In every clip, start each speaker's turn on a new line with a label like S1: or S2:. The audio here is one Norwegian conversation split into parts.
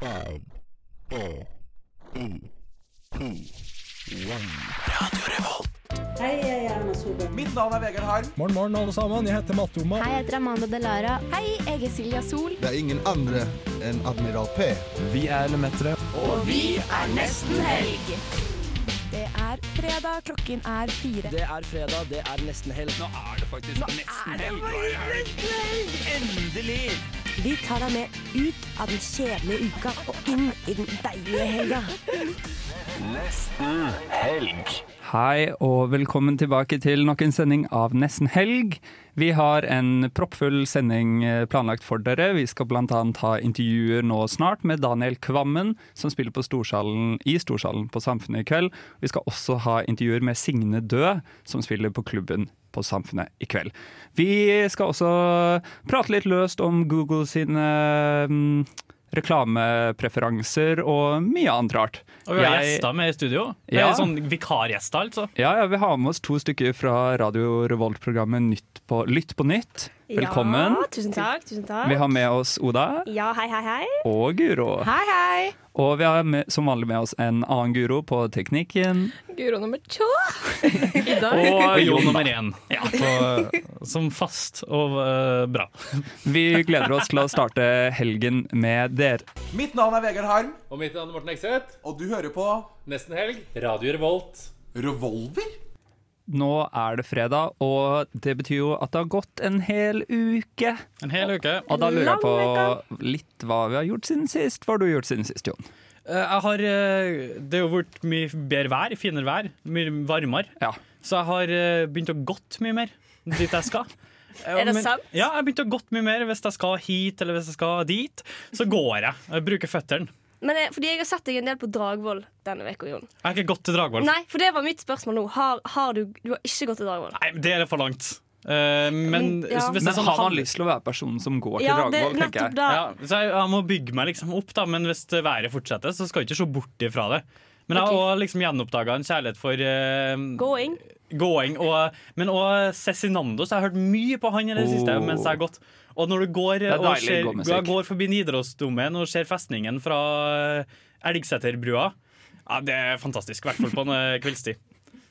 S1: Five, four, three, two, one.
S2: Hei, jeg er Erna Solberg.
S3: Mitt navn er Vegard Harm.
S4: Morgen, morgen, alle sammen. Jeg heter Matte Oma.
S5: Hei, jeg heter Amanda Delara. Hei, jeg er Silja Sol.
S6: Det er ingen andre enn Admiral P.
S5: Det er fredag, klokken er fire.
S3: Det er fredag, det er nesten helg. Nå er det faktisk nesten helg. Endelig!
S7: Vi tar deg med ut av den kjedelige uka og inn i den deilige helga.
S8: Hei og velkommen tilbake til nok en sending av Nesten helg. Vi har en proppfull sending eh, planlagt for dere. Vi skal bl.a. ha intervjuer nå snart med Daniel Kvammen, som spiller på Storsalen, i Storsalen på Samfunnet i kveld. Vi skal også ha intervjuer med Signe Dø, som spiller på klubben på Samfunnet i kveld. Vi skal også prate litt løst om Google sine mm, reklamepreferanser og mye andre rart.
S9: Og vi har
S8: Jeg-
S9: gjester med i studio. Det
S8: Ja.
S9: er Sånn Vikargjester, altså.
S8: ja, ja, vi har med oss to stykker fra Radio Revolt-programmet Nytt på, Lytt på nytt. Velkommen.
S5: Ja, tusen takk. tusen takk.
S8: Vi har med oss Oda
S5: Ja, hei, hei, hei.
S8: og Guro.
S5: Hei, hei.
S8: Og vi har med, som vanlig med oss en annen Guro på teknikken.
S5: Guro nummer to.
S9: Og Jo nummer én. Ja, på, eh, som fast og eh, bra.
S8: Vi gleder oss til å starte helgen med dere.
S3: Mitt navn er Vegard Harm,
S10: Og mitt navn er Morten Ekseth.
S3: og du hører på
S10: Nesten helg. Radio Revolt.
S3: Revolver?
S8: Nå er det fredag, og det betyr jo at det har gått en hel uke.
S9: En hel uke.
S8: Og da lurer jeg på litt hva vi har gjort siden sist. Hva har du gjort siden sist, Jon?
S9: Eh, Jeg har eh, Det har jo vært mye bedre vær, finere vær, mye varmere.
S8: Ja.
S9: Så jeg har eh, begynt å gått mye mer dit jeg skal. Eh,
S5: Er det sant?
S9: Ja, jeg har begynt å gått mye mer. Hvis jeg skal hit eller hvis jeg skal dit, så går jeg. Jeg bruker føttene.
S11: Men eh, fordi jeg har sett deg en del på Dragvoll denne uka, Jon.
S9: Jeg har ikke gått til Dragvoll.
S11: Nei, for det var mitt spørsmål nå. Har, har du, du har ikke gått til Dragvoll?
S9: Nei, det er for langt. Eh, men
S11: Men, ja.
S5: Altså,
S9: hvis det
S8: Men
S9: er sånn
S8: har man
S9: halv-
S8: lyst til å være personen som går til
S11: Ja, det
S8: Dragvoll, tenker
S11: nettopp
S8: jeg.
S11: da.
S9: Ja, så jeg, jeg må bygge meg liksom opp, da, men hvis det været fortsetter, så skal jeg ikke se bort ifra det. Men jeg har
S11: Ok.
S9: også liksom gjenoppdaga en kjærlighet for eh,
S11: Going.
S9: gåing, og, men òg Cezinando. Så jeg har hørt mye på han i det siste
S8: Oh.
S9: mens jeg har gått. Og når du går,
S8: er
S9: og
S8: deilig
S9: ser,
S8: gåmusikk.
S9: jeg går forbi Nidarosdomen og ser festningen fra eh, Elgseterbrua, ja, det er fantastisk. I hvert fall på en eh, kveldstid.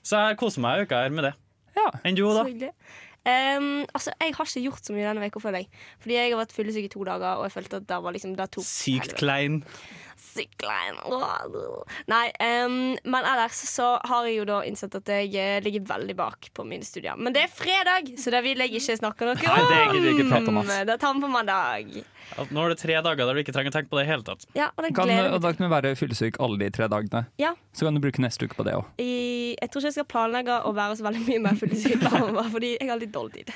S9: Så jeg koser meg i uka her med det.
S8: Ja.
S9: Enn du,
S11: Så
S9: da?
S11: hyggelig. Ehm, altså, jeg har ikke gjort så mye denne uka, føler jeg. Fordi jeg har vært fyllesyk i to dager, og jeg følte at det var liksom det tok
S9: Sykt klein.
S11: Sykt klein. Åh. Nei, ehm, men ellers så har jeg jo da innsett at jeg eh, ligger veldig bak på mine studier. Men det er fredag, så det vil jeg ikke snakke noe om.
S8: Nei, det gidder jeg ikke prate om, ass.
S11: det tar vi på mandag.
S9: Ja, Nå er det tre dager der du ikke trenger å tenke på det i hele tatt.
S11: Ja, og det
S8: Kan,
S11: gleder jeg
S8: og da kan du være fyllesyk alle de tre dagene.
S11: Ja.
S8: Så kan du bruke neste uke på det òg.
S11: i, Jeg tror ikke jeg skal planlegge å være så veldig mye mer fyllesyk fremover, fordi jeg har litt dårlig tid.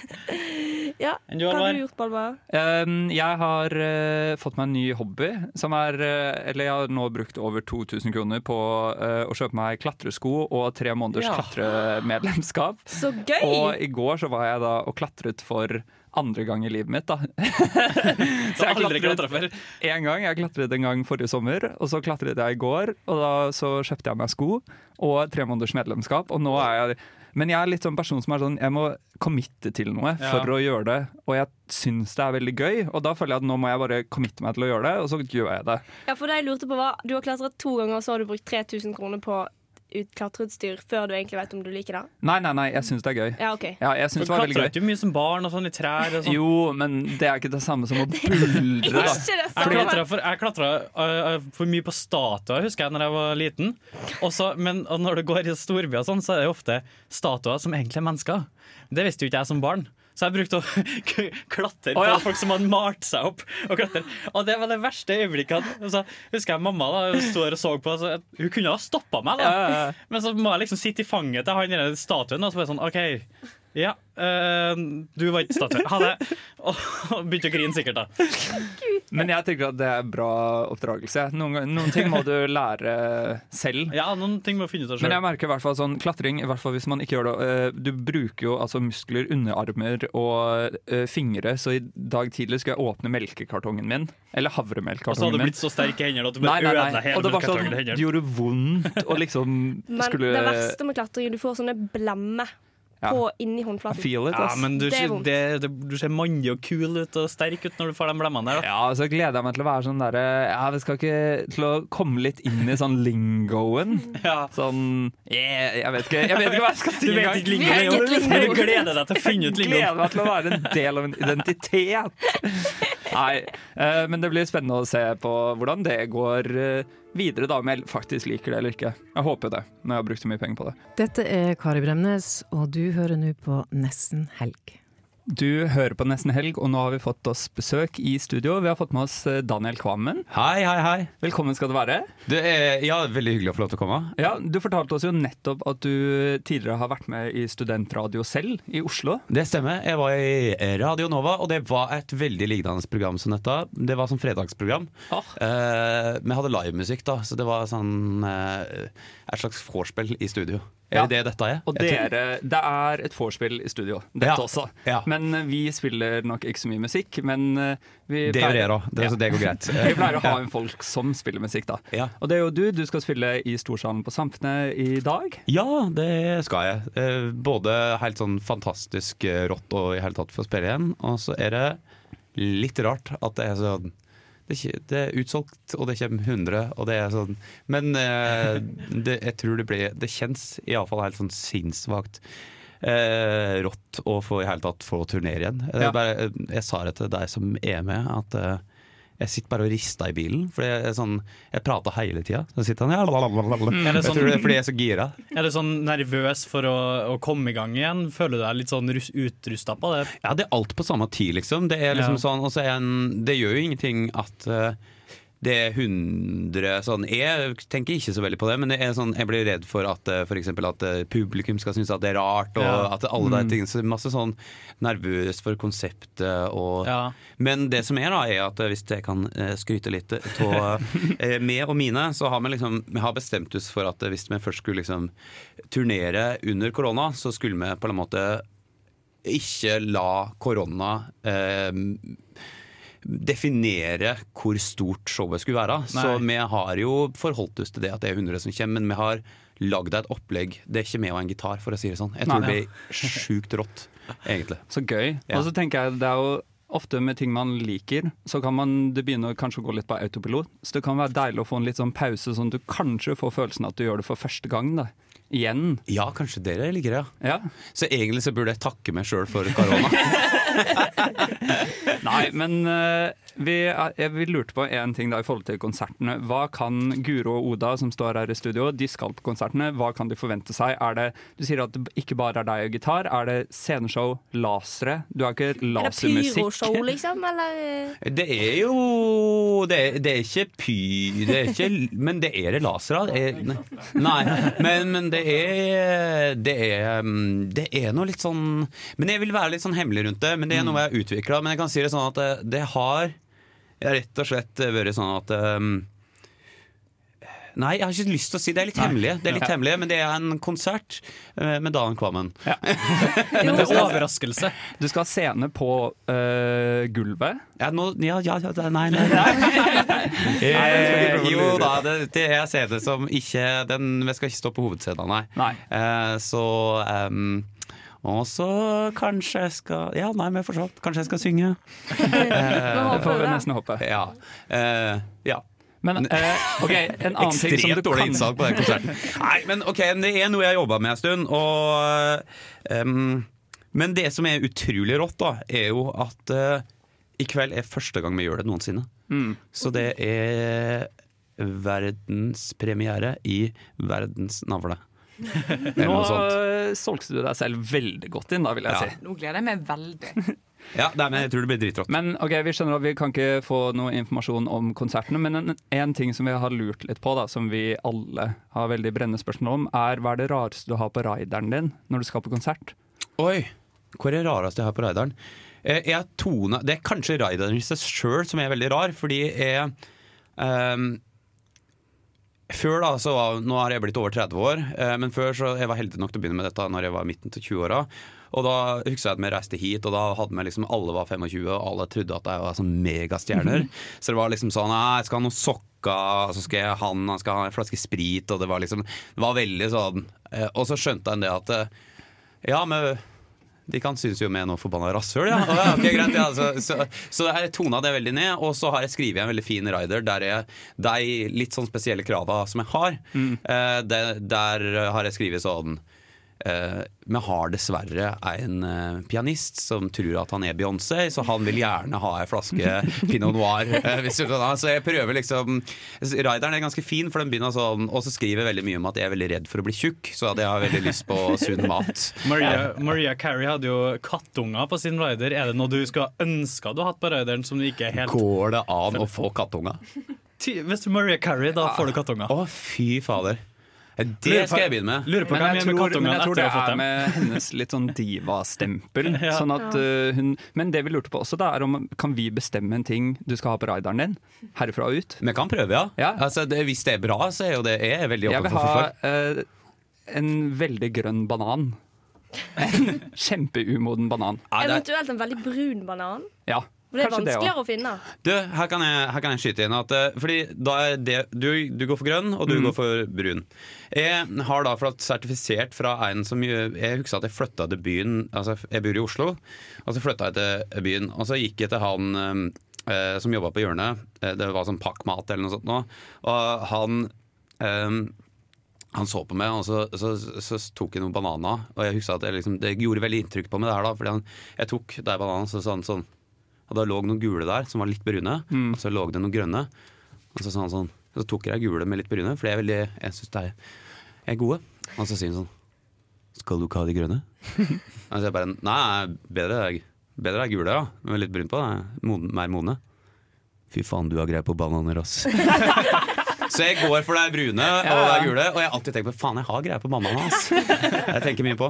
S11: Ja,
S9: Enn du,
S11: Hva har
S9: Alvar?
S11: du gjort, Balbar?
S8: Um, jeg har eh, fått meg en ny hobby, som er eh, Eller jeg har nå brukt over 2000 kroner på eh, å kjøpe meg klatresko og tre måneders
S9: Ja.
S8: klatremedlemskap.
S11: Så gøy!
S8: Og i går så var jeg da og klatret for andre gang i livet mitt, da.
S9: Så jeg har aldri
S8: klatret-
S9: klatra før.
S8: En gang, Jeg klatret en gang forrige sommer, og så klatret jeg i går. Og da så kjøpte jeg meg sko og tre måneders medlemskap. Og nå er jeg, men jeg er litt sånn person som er sånn Jeg må committe til noe
S9: Ja.
S8: for å gjøre det. Og jeg syns det er veldig gøy, og da føler jeg at nå må jeg bare committe meg til å gjøre det, og så gjør jeg det.
S11: Ja, for det jeg lurte på var Du har klatret to ganger, og så har du brukt 3000 kroner på ut- klatreutstyr før du egentlig vet om du liker det.
S8: Nei, nei, nei, jeg syns det er gøy.
S11: Ja, OK.
S8: Ja, jeg
S9: Du
S8: syns det var veldig
S9: klatret
S8: gøy.
S9: jo mye som barn og sånn i trær og sånn.
S8: Jo, men det er ikke det samme som å buldre, da.
S11: Ikke det
S9: Jeg
S11: samme.
S9: klatra for, jeg klatret, øh, øh, for mye på statuer, husker jeg, når jeg var liten. Også, men og når du går i storbyer, og sånn, så er det jo ofte statuer som egentlig er mennesker. Det visste jo ikke jeg som barn. Så jeg brukte å k- klatre på
S8: Å, ja.
S9: folk som hadde malt seg opp. Og klatre. Og det var det verste øyeblikket. Og så husker jeg mamma da, hun sto der og så på. Så jeg- hun kunne ha stoppa meg, da.
S8: Ja, ja, ja.
S9: Men så må jeg liksom sitte i fanget til han i den statuen, og så bare sånn OK. Ja, øh, du var ikke statue. Ha det. Og begynte å grine sikkert, da.
S8: Men jeg tenker at det er bra oppdragelse. Noen, gang- noen ting må du lære selv.
S9: Ja, noen ting må jeg finne ut av
S8: Men jeg
S9: sjøl.
S8: merker i hvert fall sånn klatring, i hvert fall hvis man ikke gjør det eh, Du bruker jo altså muskler, underarmer og eh, fingre, så i dag tidlig skulle jeg åpne melkekartongen min. Eller
S9: Og så
S8: havremelkkartongen
S9: Altså, hadde du
S8: min.
S9: blitt så sterk i hendene at du
S8: Nei,
S9: bare
S8: nei,
S9: ødela
S8: nei.
S9: hele
S8: Og det var sånn,
S9: melkekartongen i
S8: det
S9: hendene.
S8: gjorde vondt å liksom
S11: Men
S8: skulle
S11: det verste med klatring er du får sånne blemmer. på inni håndflaten.
S8: Feel it,
S9: Ja,
S8: ass.
S9: men du,
S11: Det er
S9: ser-
S11: vondt.
S9: det, det, du ser mandig og kul ut og sterk ut når du får de blemmene der. Da.
S8: Ja, og så gleder jeg meg til å være sånn derre Ja, vi skal ikke til å komme litt inn i sånn lingoen.
S9: Ja.
S8: Sånn yeah, jeg, vet ikke, jeg vet ikke hva jeg skal si
S9: Du vet
S8: engang.
S9: ikke lingoen
S11: Vi er ikke
S9: engang, men du gleder deg til å finne ut
S8: Gleder
S9: lingoen.
S8: meg til å være en del av en identitet. Nei, eh, men det blir spennende å se på hvordan det går eh, videre, da, om jeg faktisk liker det eller ikke. Jeg håper det, når jeg har brukt så mye penger på det.
S12: Dette er Kari Bremnes, og du hører nå på Nesten helg.
S8: Du hører på Nesten Helg, og nå har vi fått oss besøk i studio. Vi har fått med oss eh, Daniel Kvammen.
S13: Hei, hei, hei.
S8: Velkommen skal du være.
S13: Det er ja, veldig hyggelig å få lov til å komme.
S8: Ja, Du fortalte oss jo nettopp at du tidligere har vært med i studentradio selv, i Oslo.
S13: Det stemmer. Jeg var i Radio Nova, og det var et veldig lignende program som dette. Det var sånn fredagsprogram. Eh, men jeg hadde livemusikk, da, så det var sånn eh, et slags vorspiel i studio.
S8: Ja.
S13: Er det det dette er?
S8: Og
S13: Jeg tror-
S8: dere, det er et vorspiel i studio, dette også. Men eh, vi spiller nok ikke så mye musikk. Men eh, vi
S13: Det gjør jeg da. Det- så det går greit. Eh,
S8: vi pleier å ha
S13: Ja.
S8: en folk som spiller musikk, da.
S13: Ja.
S8: Og det er jo du. Du skal spille i Storsalen på Samfunnet i dag.
S13: Ja, det skal jeg. Eh, både helt sånn fantastisk eh, rått og i hele tatt få spille igjen. Og så er det litt rart at det er sånn det er, ikke- det er utsolgt, og det kommer 100, og det er sånn Men eh, det, jeg tror det blir Det kjennes iallfall helt sånn sinnssvakt eh, rått å få i hele tatt få turnere igjen. Eh, Det
S8: Ja.
S13: er bare, jeg sa det til deg som er med, at eh, jeg sitter bare og rister i bilen. For jeg, er sånn, jeg prater hele tida. Så sitter han ja, lalalala.
S9: Mm. Er
S13: Jeg
S9: det sånn-
S13: tror det er fordi jeg er så gira.
S9: Er du sånn nervøs for å, å komme i gang igjen? Føler du deg litt sånn utrusta på det?
S13: Ja, det er alt på samme tid, liksom. Det er liksom
S9: Ja.
S13: sånn, og så er en, det gjør jo ingenting at eh, det er 100 sånn Jeg tenker ikke så veldig på det, men det er sånn, jeg blir redd for at eh, for eksempel at eh, publikum skal synes at det er rart, og
S9: Ja.
S13: at alle de
S9: Mm.
S13: tingene. Så det er masse sånn nervøs for konseptet og Men det som er, da, er at eh, hvis jeg kan eh, skryte litt av meg og mine, så har vi liksom Vi har bestemt oss for at eh, hvis vi først skulle liksom turnere under korona, så skulle vi på en måte ikke la korona eh, definere hvor stort showet skulle være. Så
S9: Nei.
S13: vi har jo forholdt oss til det at det er 100 som kommer, men vi har lagd et opplegg. Det er ikke meg og en gitar, for å si det sånn. Jeg tror
S8: Nei.
S13: det blir sjukt rått, egentlig.
S8: Så gøy.
S13: Ja.
S8: Og så tenker jeg det er jo ofte med ting man liker, så kan man det begynner kanskje å gå litt på autopilot. Så det kan være deilig å få en litt sånn pause, sånn at du kanskje får følelsen at du gjør det for første gang. da. Igjen.
S13: Ja, kanskje dere liker det.
S8: Ja.
S13: Så egentlig så burde jeg takke meg sjøl for korona.
S8: Nei, men eh, vi, er- jeg, vi lurte på en ting da i forhold til konsertene. Hva kan Guro og Oda, som står her i studio, de skal på konsertene. Hva kan de forvente seg? Er det, du sier at det ikke bare er deg og gitar. Er det sceneshow, lasere? Du har ikke
S11: Er det
S8: lasermusikk?
S11: pyroshow, liksom? Eller?
S13: Det er jo Det er, det er ikke py... Det er ikke, men det er det lasere. Det er- Nei, men, men det er Det er mm, Det er noe litt sånn Men jeg vil være litt sånn hemmelig rundt det. Men det er noe jeg har utvikla. Men jeg kan si det sånn at det, det har rett og slett vært sånn at mm, Nei, jeg har ikke lyst til å si det. Det er litt hemmelig, det er litt
S9: Ja.
S13: hemmelig men det er en konsert eh, med Dan Kvammen.
S9: Men det er overraskelse.
S8: Du skal ha scene på eh, gulvet.
S13: Ja, nå, ja, ja, ja, nei, nei, nei. Eh, jo da, det, det er scene som ikke den, Vi skal ikke stå på hovedscenen, nei. Eh, så ehm, Og så kanskje jeg skal Ja, nei, men fortsatt. Kanskje jeg skal synge.
S8: Eh, Det får vi nesten håpe.
S13: Ja. Eh, ja.
S8: Men eh, ok, en annen ting som du
S13: Ekstremt dårlig
S8: kan-
S13: innsalg på den konserten. Nei, men ok, men det er noe jeg har jobba med en stund, og ehm, Men det som er utrolig rått, da, er jo at eh, i kveld er første gang vi gjør det noensinne.
S8: Mm.
S13: Så det er verdenspremiere i verdens navle. Eller
S8: Nå
S13: noe sånt.
S8: eh, solgte du deg selv veldig godt inn, da, vil jeg
S13: Ja.
S8: si.
S14: Nå gleder jeg meg veldig.
S13: Ja, nei, men jeg tror det blir dritrått.
S8: Men ok, Vi skjønner at vi kan ikke få noe informasjon om konsertene, men en, en ting som vi har lurt litt på, da, som vi alle har veldig brennende spørsmål om, er hva er det rareste du har på rideren din når du skal på konsert?
S13: Oi, hva er det rareste jeg har på raideren? Eh, Jeg tona, det er kanskje raideren i seg sjøl som er veldig rar, fordi jeg ehm, Før da, så var, Nå har jeg blitt over 30 år, eh, men før så jeg var heldig nok til å begynne med dette når jeg var midten til 20-åra. Og da husker jeg at vi reiste hit, og da hadde vi liksom alle var 25, og alle trodde at jeg var sånn megastjerner. Så det var liksom sånn «Nei, Jeg skal ha noen sokker, så skal jeg han, han skal ha en flaske sprit, og det var liksom Det var veldig sånn eh, Og så skjønte jeg det at eh, Ja, men de kan synes jo med noe forbanna rasshøl, ja. Å, ja ok, greit, ja. Så, så, så det er tona det veldig ned. Og så har jeg skrevet en veldig fin rider der jeg, de litt sånn spesielle krava som jeg har,
S8: Mm.
S13: eh, det- der har jeg skrevet sånn eh, Vi har dessverre en eh, pianist som tror at han er Beyoncé, så han vil gjerne ha ei flaske pinot noir. eh, hvis du kan ha. Så jeg prøver liksom Rideren er ganske fin, for den begynner sånn, og så skriver jeg veldig mye om at jeg er veldig redd for å bli tjukk, så at jeg har veldig lyst på sunn mat.
S9: Maria, Maria Carey hadde jo kattunger på sin rider. Er det noe du skulle ha ønska du hadde hatt på rideren? Som du ikke er helt
S13: Går det an å få kattunger?
S9: Ty- Hvis du er Maria Carey, da
S8: Ah.
S9: får du kattunger.
S13: Å, fy fader. Det skal jeg begynne med.
S9: Lurer på
S8: Men
S9: hvem
S8: jeg
S9: gjør
S8: tror,
S9: med
S8: men
S9: kattungene
S8: jeg tror
S9: etter
S8: det
S9: å ha fått
S8: er
S9: dem.
S8: med hennes litt sånn diva-stempel.
S9: Ja.
S8: Sånn at,
S9: Ja.
S8: eh, hun- men det vi lurte på også, da, er om kan vi bestemme en ting du skal ha på rideren din? Herfra og ut?
S13: Vi kan prøve, ja. Altså, det, hvis det er bra, så er jo det jeg er veldig
S8: Jeg vil
S13: åpen for
S8: ha
S13: forslag.
S8: eh, en veldig grønn banan. En kjempeumoden banan.
S11: Eventuelt en veldig brun banan.
S8: Ja,
S11: For det er
S8: kanskje det
S11: vanskeligere
S8: også.
S11: å finne.
S13: Du, her kan jeg, her kan jeg skyte inn at eh, Fordi da er det, du, du går for grønn, og du går for brun. Jeg har da fått sertifisert fra en som gjør- Jeg husker at jeg flytta til byen Altså, jeg bor i Oslo, og så flytta jeg til byen. Og så gikk jeg til han eh, eh, som jobba på hjørnet. Eh, Det var sånn pakkmat eller noe sånt nå. Og han eh, han så på meg, og så, så, så, tok jeg noen bananer. Og jeg husker at jeg liksom, det gjorde veldig inntrykk på meg, det her da. Fordi han, jeg tok de bananene, så sa han sånn Og da lå det noen gule der som var litt brune.
S8: Mm.
S13: Og så lå det noen grønne. Og så sa han sånn Så tok jeg de gule med litt brune, for jeg, er veldig, jeg syns de er gode. Og så sier han sånn Skal du ikke ha de grønne? Og så jeg bare Nei, bedre er bedre er gule, ja. Med litt brun på. det er Moden, mer modne. Fy faen, du har greie på bananer, ass. Så jeg går for de brune og de gule, og jeg har alltid tenkt på faen, jeg har greie på mammaen hans. Jeg tenker mye på.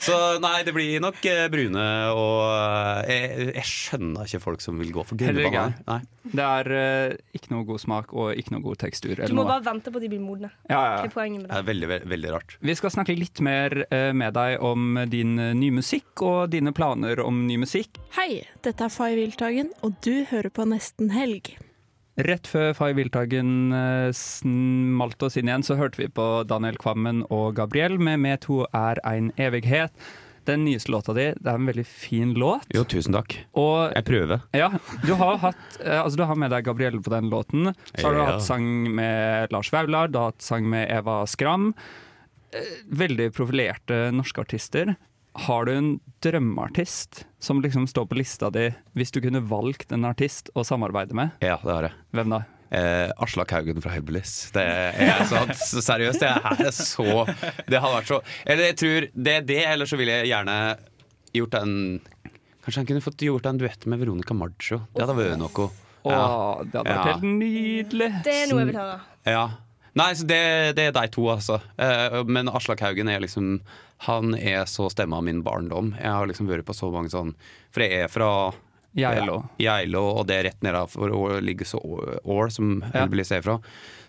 S13: Så nei, det blir nok eh, brune, og eh, jeg, jeg skjønner ikke folk som vil gå for grønne
S8: Heller ikke.
S13: bananer. Nei.
S8: Det er eh, ikke noe god smak og ikke noe god tekstur.
S11: Du
S8: eller
S11: må
S8: noe.
S11: bare vente på at de blir modne.
S8: Ja, ja, ja.
S11: Hva er poenget med det?
S13: veldig, rart.
S8: Vi skal snakke litt mer eh, med deg om din eh, nye musikk og dine planer om ny musikk.
S2: Hei, dette er Fay Wiltagen, og du hører på Nesten Helg.
S8: Rett før Fay Wiltagen eh, smalt oss inn igjen, så hørte vi på Daniel Kvammen og Gabriel med 'Me to er ein evighet'. Den nyeste låta di, det er en veldig fin låt.
S13: Jo, tusen takk.
S8: Og,
S13: Jeg prøver.
S8: ja, du har, hatt, eh, altså, du har med deg Gabrielle på den låten. Så har du
S13: Ja.
S8: hatt sang med Lars Vaular, du har hatt sang med Eva Skram. Eh, Veldig profilerte norske artister. Har du en drømmeartist som liksom står på lista di, hvis du kunne valgt en artist å samarbeide med?
S13: Ja, det har jeg.
S8: Hvem da?
S13: Eh, Aslak Haugen fra Hellbillies. Det er så, så seriøst, det her er så Det har vært så Eller jeg tror det er det, eller så ville jeg gjerne gjort en Kanskje han kunne fått gjort en duett med Veronica Maggio. Det hadde vært noe.
S8: Åh, det hadde vært helt nydelig.
S11: Det er noe jeg vil høre.
S13: Ja. Nei, så det, det er de to, altså. Eh, men Aslak Haugen er liksom Han er så stemma av min barndom. Jeg har liksom vært på så mange sånn For jeg er fra
S8: Geilo.
S13: Geilo, og det er rett nedafor og ligger så Ål, som Elbelis er fra.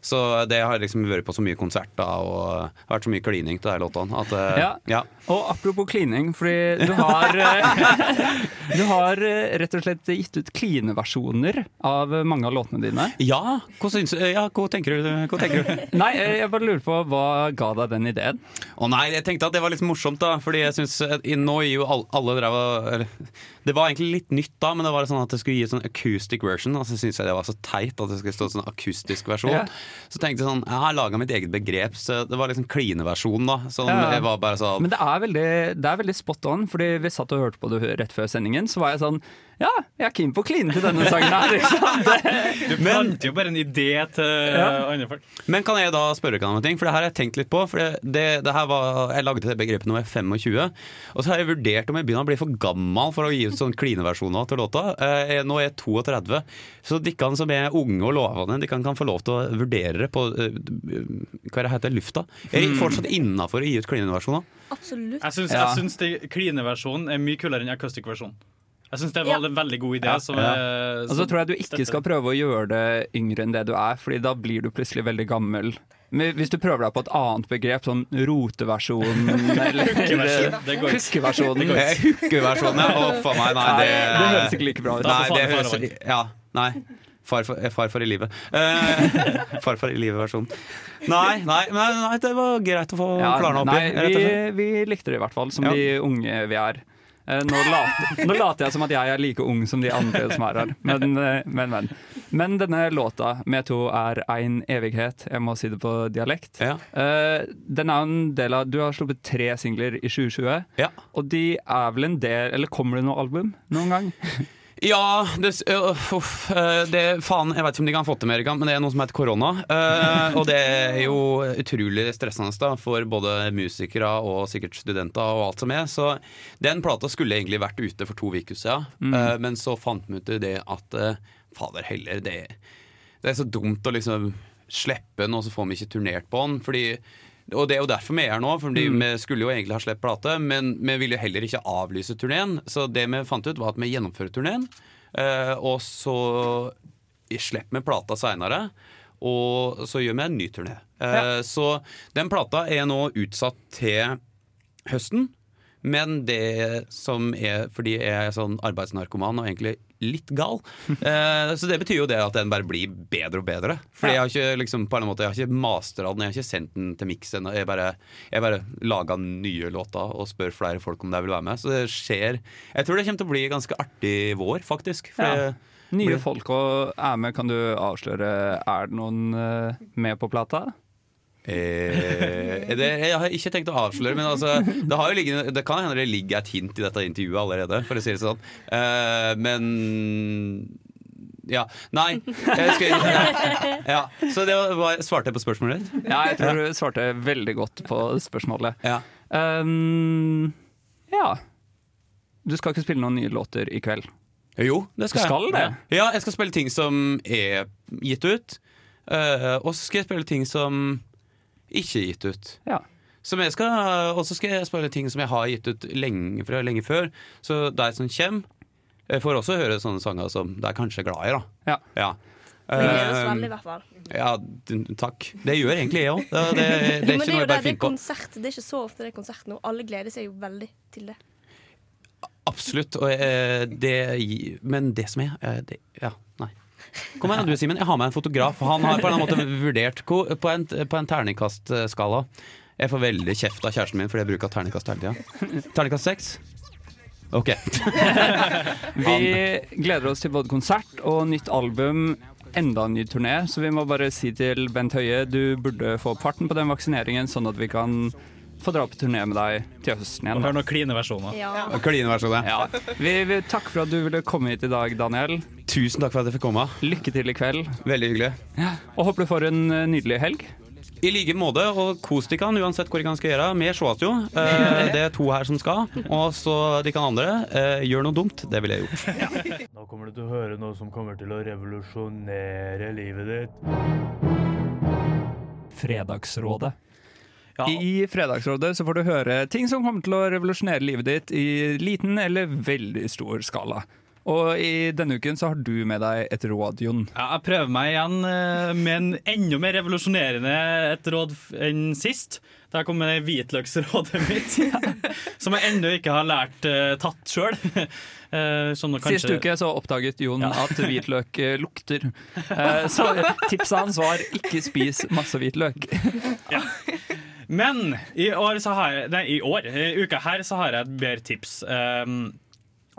S13: Så det har jeg liksom vært på så mye konserter og det har vært så mye klining til de låtene at eh,
S8: Ja.
S13: ja.
S8: Og apropos klining, fordi du har eh, Du har eh, rett og slett gitt ut klineversjoner av eh, mange av låtene dine.
S13: Ja, hva, syns, ja, hva tenker du? Hva tenker du?
S8: Nei, eh, jeg bare lurer på hva ga deg den ideen?
S13: Å nei, jeg tenkte at det var litt morsomt, da. Fordi jeg syns Nå gir jo alle, alle drev og eller, Det var egentlig litt nytt da, men det var sånn at det skulle gi sånn acoustic version. Og så syntes jeg det var så teit at det skulle stå sånn akustisk versjon.
S8: Ja.
S13: Så tenkte jeg sånn Jeg har laga mitt eget begrep, så det var liksom klineversjonen, da. Sånn,
S8: Ja.
S13: jeg var bare sånn
S8: Men det er, veldig, det er veldig spot on, fordi vi satt og hørte på det rett før sendingen. Så var jeg sånn Ja, jeg er keen på å kline til denne sangen her. Liksom.
S9: Du planter jo bare en idé til eh, andre folk.
S13: Men kan jeg da spørre dere om en ting? For det her har jeg tenkt litt på. For det, det, det her var, Jeg lagde det begrepet når jeg var 25. Og så har jeg vurdert om jeg begynner å bli for gammel for å gi ut sånn klineversjoner til låta. Eh, jeg- nå er jeg 32. Så dere som er unge og lovende, dere kan få lov til å vurdere det på eh, hva det heter, lufta. Er det fortsatt innafor å gi ut klineversjoner?
S11: Absolutt.
S9: Jeg syns,
S13: Ja.
S9: jeg syns det- klineversjonen er mye kulere enn acoustic-versjonen. Jeg syns det var en veldig god idé.
S8: Ja.
S9: Som,
S8: Ja.
S9: eh,
S8: Og så
S9: som
S8: tror jeg du ikke
S9: støtter.
S8: skal prøve å gjøre det yngre enn det du er, Fordi da blir du plutselig veldig gammel. Men hvis du prøver deg på et annet begrep, sånn roteversjonen eller
S13: Hookeversjon. Det går ikke. Det
S8: huskeversjonen
S13: går ikke. Eh, hookeversjonen, ja. Å, faen meg, nei, det-
S8: høres ikke like bra ut.
S13: Nei, det høres, ja, nei. Farfar, eh, farfar i livet. Eh, farfar i livet-versjonen. Nei, nei, nei, nei, det var greit å få
S8: Ja,
S13: klarna opp i.
S8: nei,
S13: rett og
S8: vi,
S13: slett.
S8: vi likte det i hvert fall, som
S13: Ja.
S8: de unge vi er. Eh, Nå later, nå later jeg som at jeg er like ung som de andre som er her, men, eh, men, men. Men denne låta, 'Me to er ein evighet', jeg må si det på dialekt, Eh, den er jo en del av Du har sluppet tre singler i 2020, og de er vel en del Eller kommer det noe album noen gang?
S13: Ja, det, s- øh, uff, øh, det Faen, jeg veit ikke om de kan få til mer, men det er noe som heter korona. Eh, og det er jo utrolig stressende da, for både musikere og sikkert studenter og alt som er. Så den plata skulle egentlig vært ute for to uker siden,
S14: Mm.
S13: eh, men så fant vi ut det at eh, fader heller, det, det er så dumt å liksom slippe den, og så får vi ikke turnert på den. Fordi og det er jo derfor vi er her nå, for
S8: Mm.
S13: vi skulle jo egentlig ha sluppet plate, men vi ville jo heller ikke avlyse turneen. Så det vi fant ut, var at vi gjennomfører turneen, eh, og så slipper vi plata seinere. Og så gjør vi en ny turné. Eh, Så den plata er nå utsatt til høsten. Men det som er fordi jeg er sånn arbeidsnarkoman og egentlig litt gal, eh, så det betyr jo det at den bare blir bedre og bedre. Fordi jeg har ikke liksom, på en eller annen måte, jeg har ikke mastra den, jeg har ikke sendt den til miks ennå. Jeg bare, jeg bare laga nye låter og spør flere folk om de vil være med. Så det skjer. Jeg tror det kommer til å bli ganske artig vår, faktisk. For
S8: Ja.
S13: jeg-
S8: Nye
S13: blir-
S8: folk og er med, kan du avsløre Er det noen eh, med på plata?
S13: Eh, det, jeg har ikke tenkt å avsløre, men altså, det, har jo ligget, det kan hende det ligger et hint i dette intervjuet allerede, for å si det sånn. Eh, men ja. Nei. Jeg skulle, ja. Så det var, svarte jeg på spørsmålet ditt?
S8: Ja, jeg tror du svarte veldig godt på spørsmålet. Ja. Um, ja. Du skal ikke spille noen nye låter i kveld?
S13: Jo, det skal,
S8: skal
S13: jeg.
S8: det?
S13: Ja, jeg skal spille ting som er gitt ut. eh, og så skal jeg spille ting som ikke er gitt ut. Som jeg skal, og så skal jeg spille ting som jeg har gitt ut lenge, fra lenge før. Så de som kommer, eh, får også høre sånne sanger som de er kanskje glad i.
S8: da
S13: Ja.
S11: Vi gleder oss veldig, i
S13: Eh,
S11: hvert fall.
S13: ja, d- takk. Det gjør egentlig jeg òg. Det, det,
S11: Jo,
S13: det
S11: men
S13: er ikke
S11: det er
S13: noe
S11: jo det,
S13: jeg bare
S11: det er
S13: finner på.
S11: konsert. Det er ikke så ofte det er konsert nå. Alle gleder seg jo veldig til det.
S13: Absolutt. Og, eh, det, men det som er eh, det, Ja, nei. Kom her, du Simen. Jeg har med en fotograf. Han har på en eller annen måte vurdert ko- på en, på en terningkastskala. Jeg får veldig kjeft av kjæresten min fordi jeg bruker terningkast hele tida. Terningkast seks? OK.
S8: Vi gleder oss til både konsert og nytt album. Enda en ny turné, så vi må bare si til Bent Høie du burde få parten på den vaksineringen, sånn at vi kan få dra på turné med deg til høsten igjen.
S9: Og hør noen kline versjoner.
S11: Ja.
S13: Klineversjonen.
S8: Ja. Vi, vi, takk for at du ville komme hit i dag, Daniel.
S13: Tusen takk for at jeg fikk komme.
S8: Lykke til i kveld.
S13: Veldig hyggelig.
S8: Og håper du får en eh, nydelig helg.
S13: I like måte, og kos dere uansett hvor dere skal gjøre. Vi sees jo. Eh, Det er to her som skal. Og så de kan andre. eh, Gjør noe dumt. Det ville jeg gjort.
S15: Nå kommer du til å høre noe som kommer til å revolusjonere livet ditt.
S8: Fredagsrådet. I Fredagsrådet så får du høre ting som kommer til å revolusjonere livet ditt i liten eller veldig stor skala. Og i denne uken så har du med deg et råd, Jon.
S9: Ja, jeg prøver meg igjen eh, med en enda mer revolusjonerende et råd f- enn sist. Der kom det hvitløksrådet mitt, som jeg ennå ikke har lært eh, tatt Eh, sjøl.
S8: Sist uke så oppdaget Jon at hvitløk eh, lukter. Eh, Så tipset hans var ikke spis masse hvitløk.
S9: Men i år så har jeg Nei, i år, i uka her så har jeg et bedre tips. Um,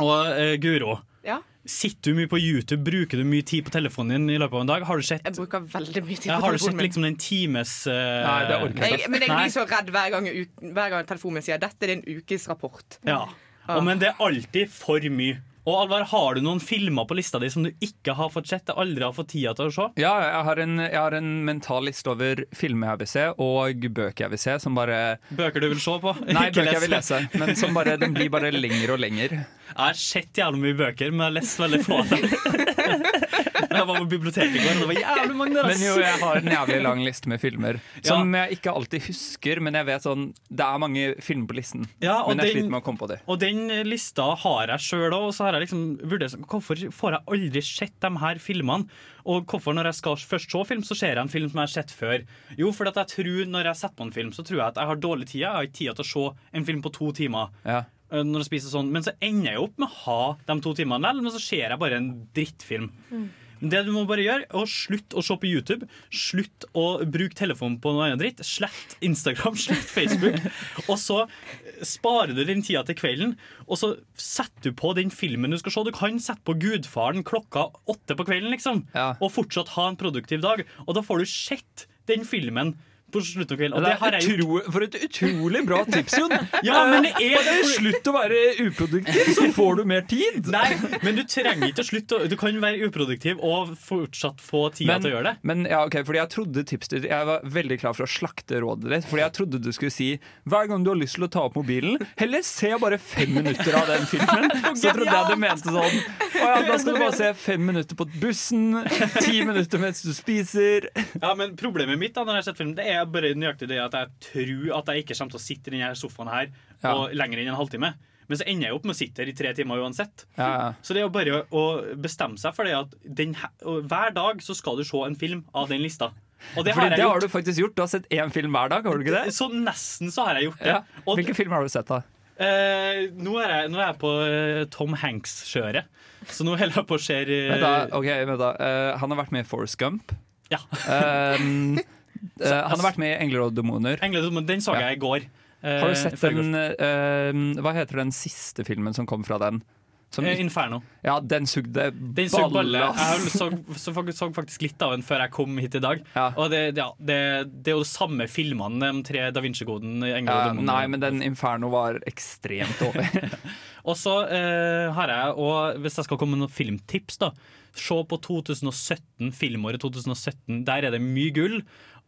S9: og eh, Guro,
S5: Ja.
S9: sitter du mye på YouTube? Bruker du mye tid på telefonen din i løpet av en dag? Har du sett,
S5: Jeg bruker veldig mye tid
S9: ja,
S5: på
S9: har du
S5: telefonen
S9: sett
S5: min.
S9: liksom den times eh,
S8: Nei, det orker
S5: Jeg, men jeg
S9: Nei.
S5: blir så redd hver gang, uk- hver gang telefonen min sier dette er din ukes rapport.
S9: Ja. Og, men det er alltid for mye. Og Alvar, har du noen filmer på lista di som du ikke har fått sett? Aldri har fått tida til å se?
S8: Ja, jeg har, en, jeg har en mental liste over filmer jeg vil se, og bøker jeg vil se, som bare
S9: Bøker du vil se på?
S8: Nei,
S9: Ikke
S8: bøker jeg vil lese.
S9: lese.
S8: Men som bare, den blir bare lengre og lengre.
S9: Jeg har sett jævlig mye bøker, men jeg har lest veldig få av dem. Jeg var på biblioteket i går, og det var jævlig mange der. ass.
S8: Men jo, jeg har en jævlig lang liste med filmer. Som jeg ikke alltid husker, men jeg vet sånn Det er mange filmer på listen.
S9: Ja, og
S8: men jeg
S9: den-
S8: sliter med å komme på det.
S9: Og den lista har jeg sjøl òg, og så har jeg liksom vurdert sånn, hvorfor får jeg aldri sett de her filmene. Og hvorfor når jeg skal først se film, så ser jeg en film som jeg har sett før. Jo, fordi at jeg tror når jeg setter på en film, så tror jeg at jeg har dårlig tid. Jeg har ikke tid til å se en film på to timer.
S8: Ja.
S9: eh, Når jeg spiser sånn Men så ender jeg jo opp med å ha de to timene likevel, men så ser jeg bare en drittfilm. Det du må bare gjøre, er å slutte å se på YouTube. Slutt å bruke telefonen på noe annet dritt. Slett Instagram, slett Facebook. Og så sparer du den tida til kvelden, og så setter du på den filmen du skal se. Du kan sette på Gudfaren klokka åtte på kvelden, liksom. Og fortsatt ha en produktiv dag. Og da får du sett den filmen. På slutten av kvelden. Og
S8: Det
S9: det,
S8: er
S9: har jeg gjort.
S8: For et utrolig bra tips, Jon!
S9: Ja, men det er-
S8: Bare Slutt å være uproduktiv, så får du mer tid!
S9: Nei, men du trenger ikke å slutte. å- Du kan være uproduktiv og fortsatt få tida til å gjøre det.
S8: Men ja, ok, fordi jeg trodde tipset ditt Jeg var veldig klar for å slakte rådet ditt. Fordi jeg trodde du skulle si hver gang du har lyst til å ta opp mobilen, heller se bare fem minutter av den filmen. Så trodde jeg du mente sånn. Å ja, da skal du bare se fem minutter på bussen, ti minutter mens du spiser.
S9: Ja, men Problemet mitt da, når jeg har sett film, det er bare nøyaktig det at jeg tror at jeg ikke kommer til å sitte i denne sofaen her
S8: Ja.
S9: og lenger enn en halvtime. Men så ender jeg opp med å sitte her i tre timer uansett.
S8: Ja,
S9: Så det er jo bare å å bestemme seg for det at den, he- og hver dag så skal du se en film av den lista. Og det
S8: Fordi
S9: har jeg
S8: det
S9: gjort.
S8: har du faktisk gjort. Du har sett én film hver dag, har du ikke det?
S9: Så nesten så har jeg gjort det.
S8: Ja. Hvilken film har du sett, da?
S9: Eh, nå, er jeg, nå er jeg på eh, Tom Hanks-kjøret, så nå holder jeg på å se eh,
S8: Vent da, ok, vent da. Eh, han har vært med i Forrest Gump.
S9: Ja.
S8: Ehm, eh, han har vært med i Engler og demoner.
S9: Engler og demoner, Den så jeg i går. Eh,
S8: Har du sett
S9: foregårs.
S8: den eh, Hva heter den siste filmen som kom fra den? Som,
S9: Eh, Inferno.
S8: Ja, den sugde balle.
S9: Den så balle. Jeg
S8: ass.
S9: så, så, fak- så faktisk litt av den før jeg kom hit i dag. Og det, ja, det, det er jo de samme filmene, de tre Da Vinci-koden. Engler og
S8: Ja,
S9: demoner.
S8: nei, men den Inferno var ekstremt dårlig.
S9: Og så eh, har jeg, og hvis jeg skal komme med noen filmtips, da Se på 2017, filmåret 2017. Der er det mye gull.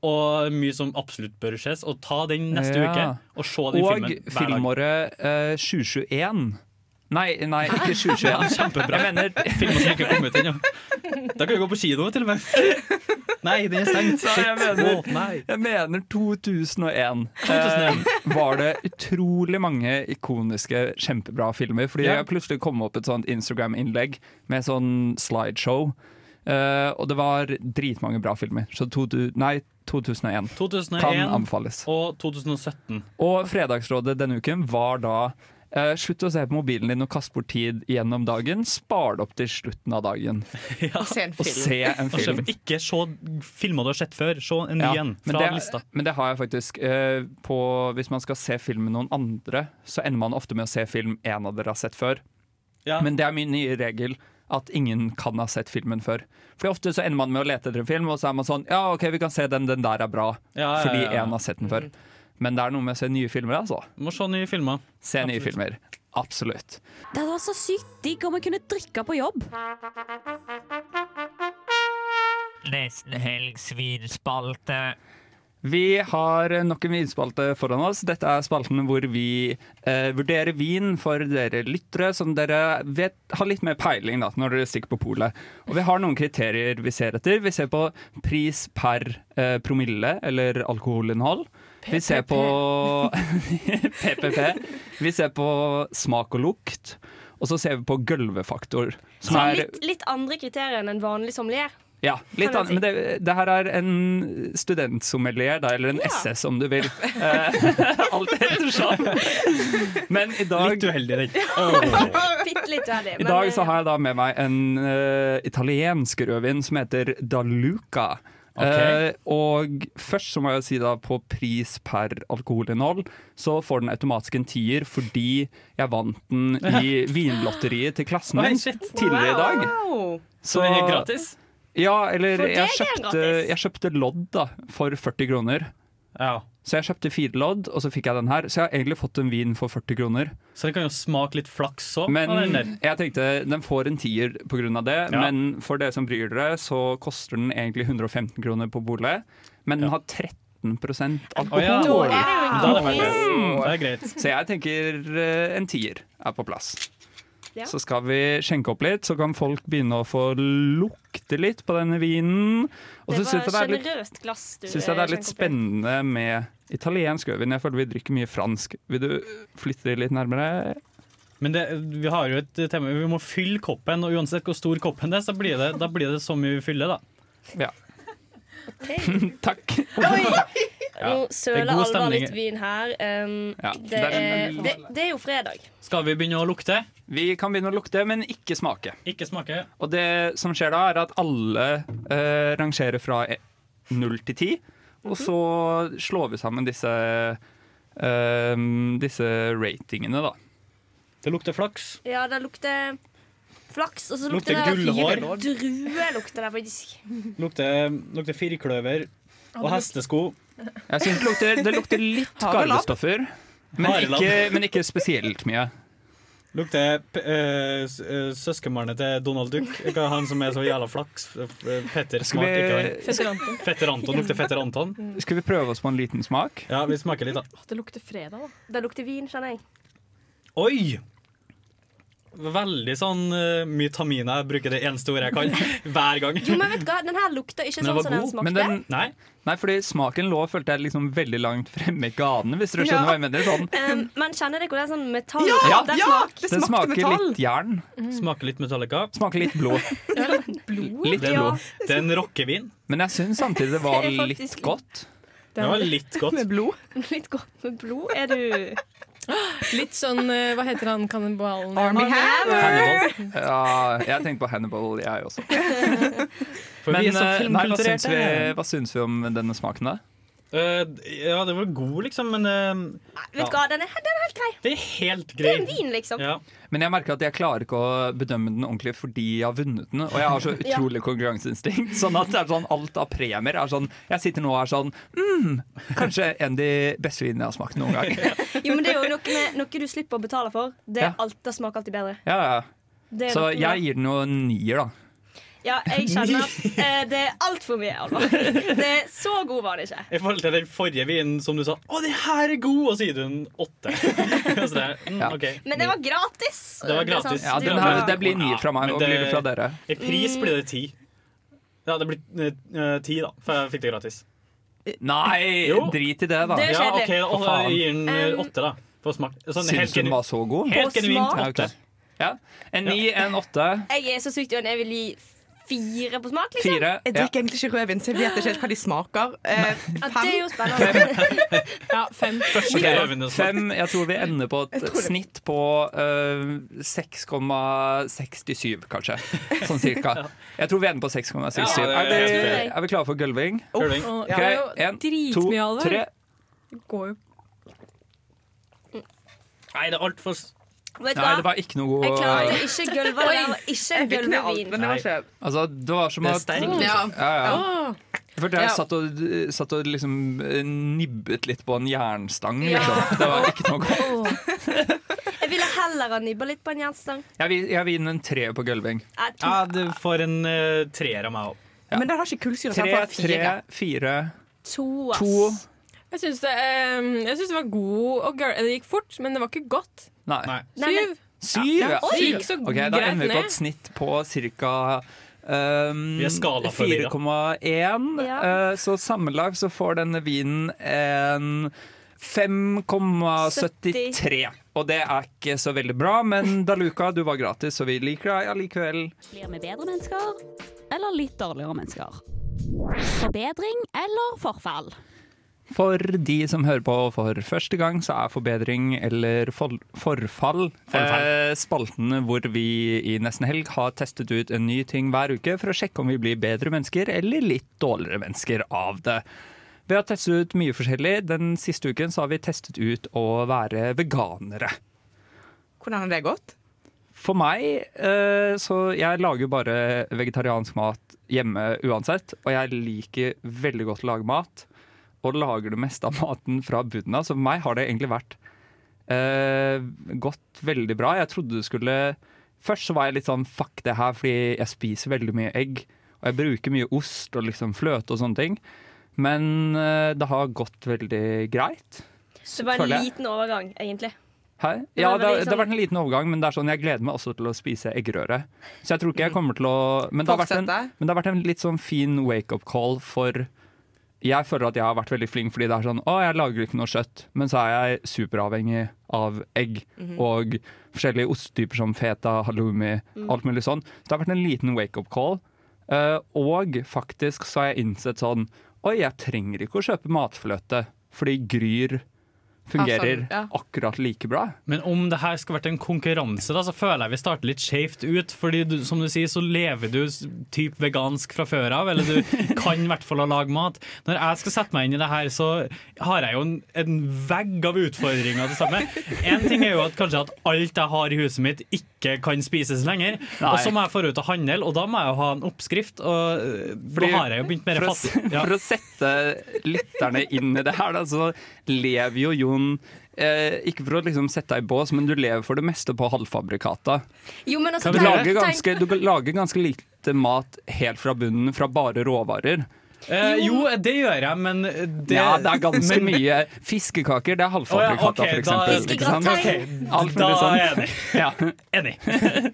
S9: Og mye som absolutt bør ses. Og ta den neste
S8: Ja.
S9: uke og se den filmen
S8: Og
S9: hver dag.
S8: filmåret eh, 2021. Nei, nei, ikke 2021.
S9: Ja, kjempebra.
S8: Jeg mener,
S9: Filmer som ikke kom ut ennå. Da kan vi gå på kino, til og med. Nei, den er stengt.
S8: Nei, jeg
S9: Shit.
S8: mener,
S9: Å, nei.
S8: jeg mener 2001.
S9: 2001.
S8: Eh, var det utrolig mange ikoniske, kjempebra filmer. Fordi
S9: Ja.
S8: jeg plutselig kom opp et sånt Instagram-innlegg med sånn slideshow. Eh, og det var dritmange bra filmer. Så to, nei, 2001,
S9: 2001
S8: kan anbefales.
S9: Og 2017.
S8: Og Fredagsrådet denne uken var da eh, Slutt å se på mobilen din og kaste bort tid gjennom dagen. Spar det opp til slutten av dagen.
S5: Og se en
S8: Og
S5: film.
S8: se en
S9: Og
S8: film.
S9: se- ikke se filmer du har sett før. Se en ny
S8: Ja,
S9: en
S8: men
S9: fra
S8: det,
S9: lista.
S8: Men det har jeg faktisk. eh, på, hvis man skal se film med noen andre, så ender man ofte med å se film en av dere har sett før. Men det er min nye regel at ingen kan ha sett filmen før. For ofte så ender man med å lete etter en film, og så er man sånn Ja, OK, vi kan se den, den der er bra.
S9: Ja, ja,
S8: Fordi
S9: ja, Mm. ja.
S8: én har sett den før. Men det er noe med å se nye filmer, altså.
S9: Må se nye filmer.
S8: Se nye filmer. Absolutt.
S14: Det hadde vært så sykt digg om jeg kunne drikke på jobb.
S16: Nesten helgs vinspalte.
S8: Vi har nok en vinspalte foran oss. Dette er spalten hvor vi eh, vurderer vin for dere lyttere, som dere vet har litt mer peiling da, når dere stikker på polet. Og vi har noen kriterier vi ser etter. Vi ser på pris per eh, promille eller alkoholinnhold. Vi ser på PPP. Vi ser på smak og lukt. Og så ser vi på gulvefaktor. Som
S11: Så
S8: er
S11: litt, litt andre kriterier enn en vanlig sommelier.
S8: ja, litt
S11: Kan
S8: annet, men
S11: jeg
S8: det, det her er en studentsommelier, da, eller en SS om du vil. Eh, Alt ettersom. Men i dag Litt
S9: uheldig, den.
S11: Bitte litt uheldig.
S8: I dag så har jeg da med meg en eh, italiensk rødvin som heter Daluca. Eh, og først så må jeg si da på pris per alkoholinnhold, så får den automatisk en tier fordi jeg vant den i vinlotteriet til klassen
S5: Oi,
S8: min
S5: shit.
S8: tidligere i dag.
S5: Wow.
S9: Så det er gratis?
S8: Ja, eller
S5: For det
S8: jeg
S5: er
S8: kjøpte,
S5: gratis.
S8: jeg kjøpte lodd da, for 40 kroner. Så jeg kjøpte fire lodd, og så fikk jeg den her. Så jeg har egentlig fått en vin for 40 kroner.
S9: Så det kan jo smake litt flaks òg.
S8: Men jeg tenkte den får en tier pga. det,
S9: Ja.
S8: men for dere som bryr dere, så koster den egentlig 115 kroner på bolet. Men den har 13
S9: Å ja.
S8: alkohol.
S9: Da er det jo en
S8: Mm.
S9: Det er greit.
S8: Så jeg tenker eh, en tier er på plass.
S9: Ja.
S8: Så skal vi skjenke opp litt, så kan folk begynne å få lukte litt på denne vinen. Og
S11: Det
S8: så syns
S11: var
S8: jeg det er litt
S11: generøst glass du
S8: Syns jeg det er litt
S11: skjenker opp i.
S8: spennende med italiensk rødvin. Jeg føler vi drikker mye fransk. Vil du flytte det litt nærmere?
S9: Men det, vi har jo et tema Vi må fylle koppen, og uansett hvor stor koppen det er, så blir det, da blir det så mye vi fyller, da.
S8: Ja. Takk.
S11: Nå
S9: Ja.
S11: søler
S9: Det er god
S11: Alvar
S9: stemning.
S11: litt vin her. Um,
S9: Ja.
S11: det, er, det, det er jo fredag.
S9: Skal vi begynne å lukte?
S8: Vi kan begynne å lukte, men ikke smake.
S9: Ikke smake.
S8: Og det som skjer da, er at alle eh, rangerer fra e- null til ti. Og så slår vi sammen disse, eh, disse ratingene, da.
S9: Det lukter flaks.
S11: Ja, det lukter flaks, og så
S9: Lukter
S11: lukter, det
S9: gullhår.
S11: Drue lukter det faktisk.
S9: Lukter, lukter firkløver og
S11: det lukter-
S9: hestesko.
S8: Jeg synes det lukter, det lukter litt
S9: Harelabb.
S8: garvestoffer, men
S9: Harelabb.
S8: ikke, men ikke spesielt mye.
S9: Lukter p- eh, s- eh, søskenbarnet til Donald Duck. Ikke han som er så jævla flaks. F- eh, Petter
S8: Skal
S9: smak,
S8: vi-
S9: ikke han.
S8: Fetter
S17: Anton.
S9: Fetter Anton. Lukter Fetter Anton.
S8: Skal vi prøve oss på en liten smak?
S9: Ja, vi smaker litt, da.
S17: Det lukter fredag, da.
S11: Det lukter vin, skjønner jeg.
S9: Oi! Veldig sånn eh, mye taminer. Jeg bruker det eneste ordet jeg kan hver gang.
S11: Jo, men vet du hva, den her lukter ikke sånn som den smakte.
S8: Men den, nei. fordi smaken lå følte jeg liksom veldig langt fremme i ganen, hvis dere skjønner hva jeg mener. Sånn.
S11: Um, men kjenner dere hvor det er sånn metall?
S8: Ja,
S11: den
S8: ja,
S11: smak.
S8: det Den smaker smaker litt jern.
S9: Smaker litt Metallica.
S8: Smaker litt blod. Litt
S9: Det er-
S8: blod.
S9: Det er en rockevin.
S8: Men jeg syns samtidig det var
S11: Det er
S8: litt
S11: faktisk-
S8: godt.
S9: Det var litt godt.
S17: Med blod.
S11: Litt godt med blod. Er du
S17: Litt sånn eh, Hva heter han kannibalen?
S11: Army Hammer!
S8: Hannibal. Ja, jeg tenker på Hannibal, jeg også.
S9: For vi er så
S8: eh, nei, hva, syns vi,
S9: filmkulturerte.
S8: hva syns vi om denne smaken, da?
S9: Eh, ja, det var god, liksom, men eh,
S11: Vet du hva, den er, den er helt grei.
S9: Det er helt
S11: Det
S9: grei.
S11: er en vin, liksom.
S9: Ja.
S8: Men jeg merker at jeg klarer ikke å bedømme den ordentlig fordi jeg har vunnet den. Og jeg har så utrolig konkurranseinstinkt. Sånn at det er sånn alt av premier er sånn Jeg sitter nå og er sånn mm, Kanskje en av de beste vinene jeg har smakt noen gang.
S11: Jo, men det er jo noe, med, noe du slipper å betale for. Det, er
S8: Ja.
S11: alt, det smaker alltid bedre.
S8: Ja, ja.
S11: Det er
S8: Så
S11: noe med-
S8: jeg gir den jo en nier, da.
S11: Ja, jeg kjenner at eh, det er altfor mye alvor. Det er så god var det ikke.
S9: I forhold til den forrige vinen som du sa 'Å, den her er god', og så gir du den åtte. Og så det, er, mm, ok.
S11: Men det var gratis. sånn
S9: Det var gratis.
S8: Ja, den her, det blir nier fra meg,
S9: Men
S8: og blir det fra dere?
S9: I pris blir det ti. Ja, det blir eh, ti, da, for jeg fikk det gratis.
S8: Nei,
S9: Jo.
S8: drit i det, da.
S9: Det er Ja, kjedelig. ok, da-
S8: For faen.
S9: jeg gir den, eh, åtte, da, på smak. Sånn helt
S8: Syns du
S9: genu-
S8: den var så god?
S9: helt På genuint smak?
S8: Ja, ok. Ja. En ni, en åtte.
S11: Jeg er så sykt uenig. Jeg vil gi fire på smak, liksom.
S8: Fire,
S5: Jeg drikker egentlig ikke rødvin, så jeg vet ikke helt hva de smaker. Eh,
S11: Ja,
S5: fem.
S11: det er jo spennende.
S17: ja, fem.
S8: Ok, Fem. Jeg tror vi ender på et snitt på øh, 6,67, kanskje. Sånn cirka. Jeg tror vi ender på 6,67.
S9: Ja, det-
S8: er, vi-
S9: jeg tror
S8: er vi klare for gulving?
S9: Gulving.
S17: Å,
S8: Ok,
S17: det er jo
S8: en, to,
S17: dritmye alvor.
S8: tre.
S17: Det går jo
S9: Nei, det er altfor
S11: Vet du
S8: Nei,
S11: hva?
S8: det var ikke noe
S11: Jeg klarte ikke gulvet. Det var ikke
S5: Jeg fikk med alt,
S11: gulvevin.
S5: men det var ikke
S8: Altså, det var som
S5: Det er
S8: at
S5: sterkt. liksom. Ja.
S8: ja, ja.
S5: Åh.
S8: For jeg
S5: Ja.
S8: satt og, satt og liksom eh, nibbet litt på en jernstang,
S11: Ja.
S8: liksom. Det var ikke noe godt.
S11: Jeg ville heller ha nibba litt på en jernstang.
S8: Jeg vil, jeg vil inn en tre på gulving.
S11: Jeg tok-
S9: Ja, du får en eh, treer av meg òg.
S5: Men den har ikke kullsyre. så
S8: Tre,
S5: den får
S8: tre,
S5: fire.
S8: fire.
S11: To,
S5: ass.
S8: To.
S17: Jeg syns det, eh, jeg synes det var god og gøy. Det gikk fort, men det var ikke godt.
S8: Nei.
S17: Syv.
S8: Syv,
S17: Ja,
S8: ja.
S17: oi, det gikk så
S8: Ok, Da
S17: greit
S8: ender vi på
S17: ned.
S8: et snitt på ca. Um,
S9: Vi er skala for lyra.
S8: 4,1. Eh, så sammenlagt så får denne vinen en 5,73. Og det er ikke så veldig bra, men Daluka, du var gratis, så vi liker deg allikevel.
S14: Blir vi bedre mennesker, eller litt dårligere mennesker? Forbedring eller forfall?
S8: For de som hører på for første gang, så er forbedring eller for forfall,
S9: Forfall.
S8: Eh, spalten hvor vi i nesten helg har testet ut en ny ting hver uke for å sjekke om vi blir bedre mennesker eller litt dårligere mennesker av det. Vi har testet ut mye forskjellig. Den siste uken så har vi testet ut å være veganere.
S5: Hvordan har det gått?
S8: For meg, eh, så jeg lager bare vegetariansk mat hjemme uansett, og jeg liker veldig godt å lage mat, og lager det meste av maten fra bunnen av, så for meg har det egentlig vært eh, gått veldig bra. Jeg trodde det skulle Først så var jeg litt sånn fuck det her, fordi jeg spiser veldig mye egg, og jeg bruker mye ost og liksom fløte og sånne ting, men eh, det har gått veldig greit.
S11: Det var
S8: Føler
S11: en
S8: jeg.
S11: liten overgang, egentlig.
S8: Hæ?
S11: Det
S8: Ja,
S11: var
S8: det, har- det
S11: veldig
S8: har
S11: sånn-
S8: vært en liten overgang, men det er sånn, jeg gleder meg også til å spise eggerøre. Så jeg tror ikke jeg kommer til å Men det har vært en,
S5: Fortsette?
S8: men det har vært en litt sånn fin wake-up call for Jeg føler at jeg har vært veldig flink fordi det er sånn Å, jeg lager ikke noe kjøtt, men så er jeg superavhengig av egg
S18: Mhm.
S8: og forskjellige ostetyper som feta, halloumi,
S18: Mm.
S8: alt mulig sånn. Så det har vært en liten wake-up call. Eh, og faktisk så har jeg innsett sånn Oi, jeg trenger ikke å kjøpe matfløte, fordi Gryr fungerer
S9: Awesome, ja.
S8: akkurat like bra.
S9: Men om det her skulle vært en konkurranse, da, så føler jeg vi starter litt skjevt ut. Fordi du, som du sier, så lever du s- typ vegansk fra før av, eller du kan i hvert fall å lage mat. Når jeg skal sette meg inn i det her, så har jeg jo en, en vegg av utfordringer til å stemme. En ting er jo at kanskje at alt jeg har i huset mitt ikke kan spises lenger. Og så må jeg forut og handle, og da må jeg jo ha en oppskrift. Og øh,
S8: Fordi-
S9: da har jeg jo begynt mer
S8: for, å,
S9: fast.
S8: se-
S9: Ja.
S8: for å sette lytterne inn i det her, da, så lever jo Jon eh, Ikke for å liksom sette deg i bås, men du lever for det meste på halvfabrikata.
S11: Jo, men altså,
S8: du,
S11: tenk-
S8: lager
S11: tenk-
S8: ganske, du lager ganske lite mat helt fra bunnen, fra bare råvarer.
S9: Eh, jo, det gjør jeg, men eh, det
S8: ja, det er ganske
S9: men-
S8: mye Fiskekaker, det er halvfabrikata,
S9: Å ja, ok,
S8: for
S9: da-
S8: eksempel. ikke sant?
S9: Fiskegrateng.
S8: Alt
S9: Da
S8: mulig sånn.
S9: er jeg
S8: Ja.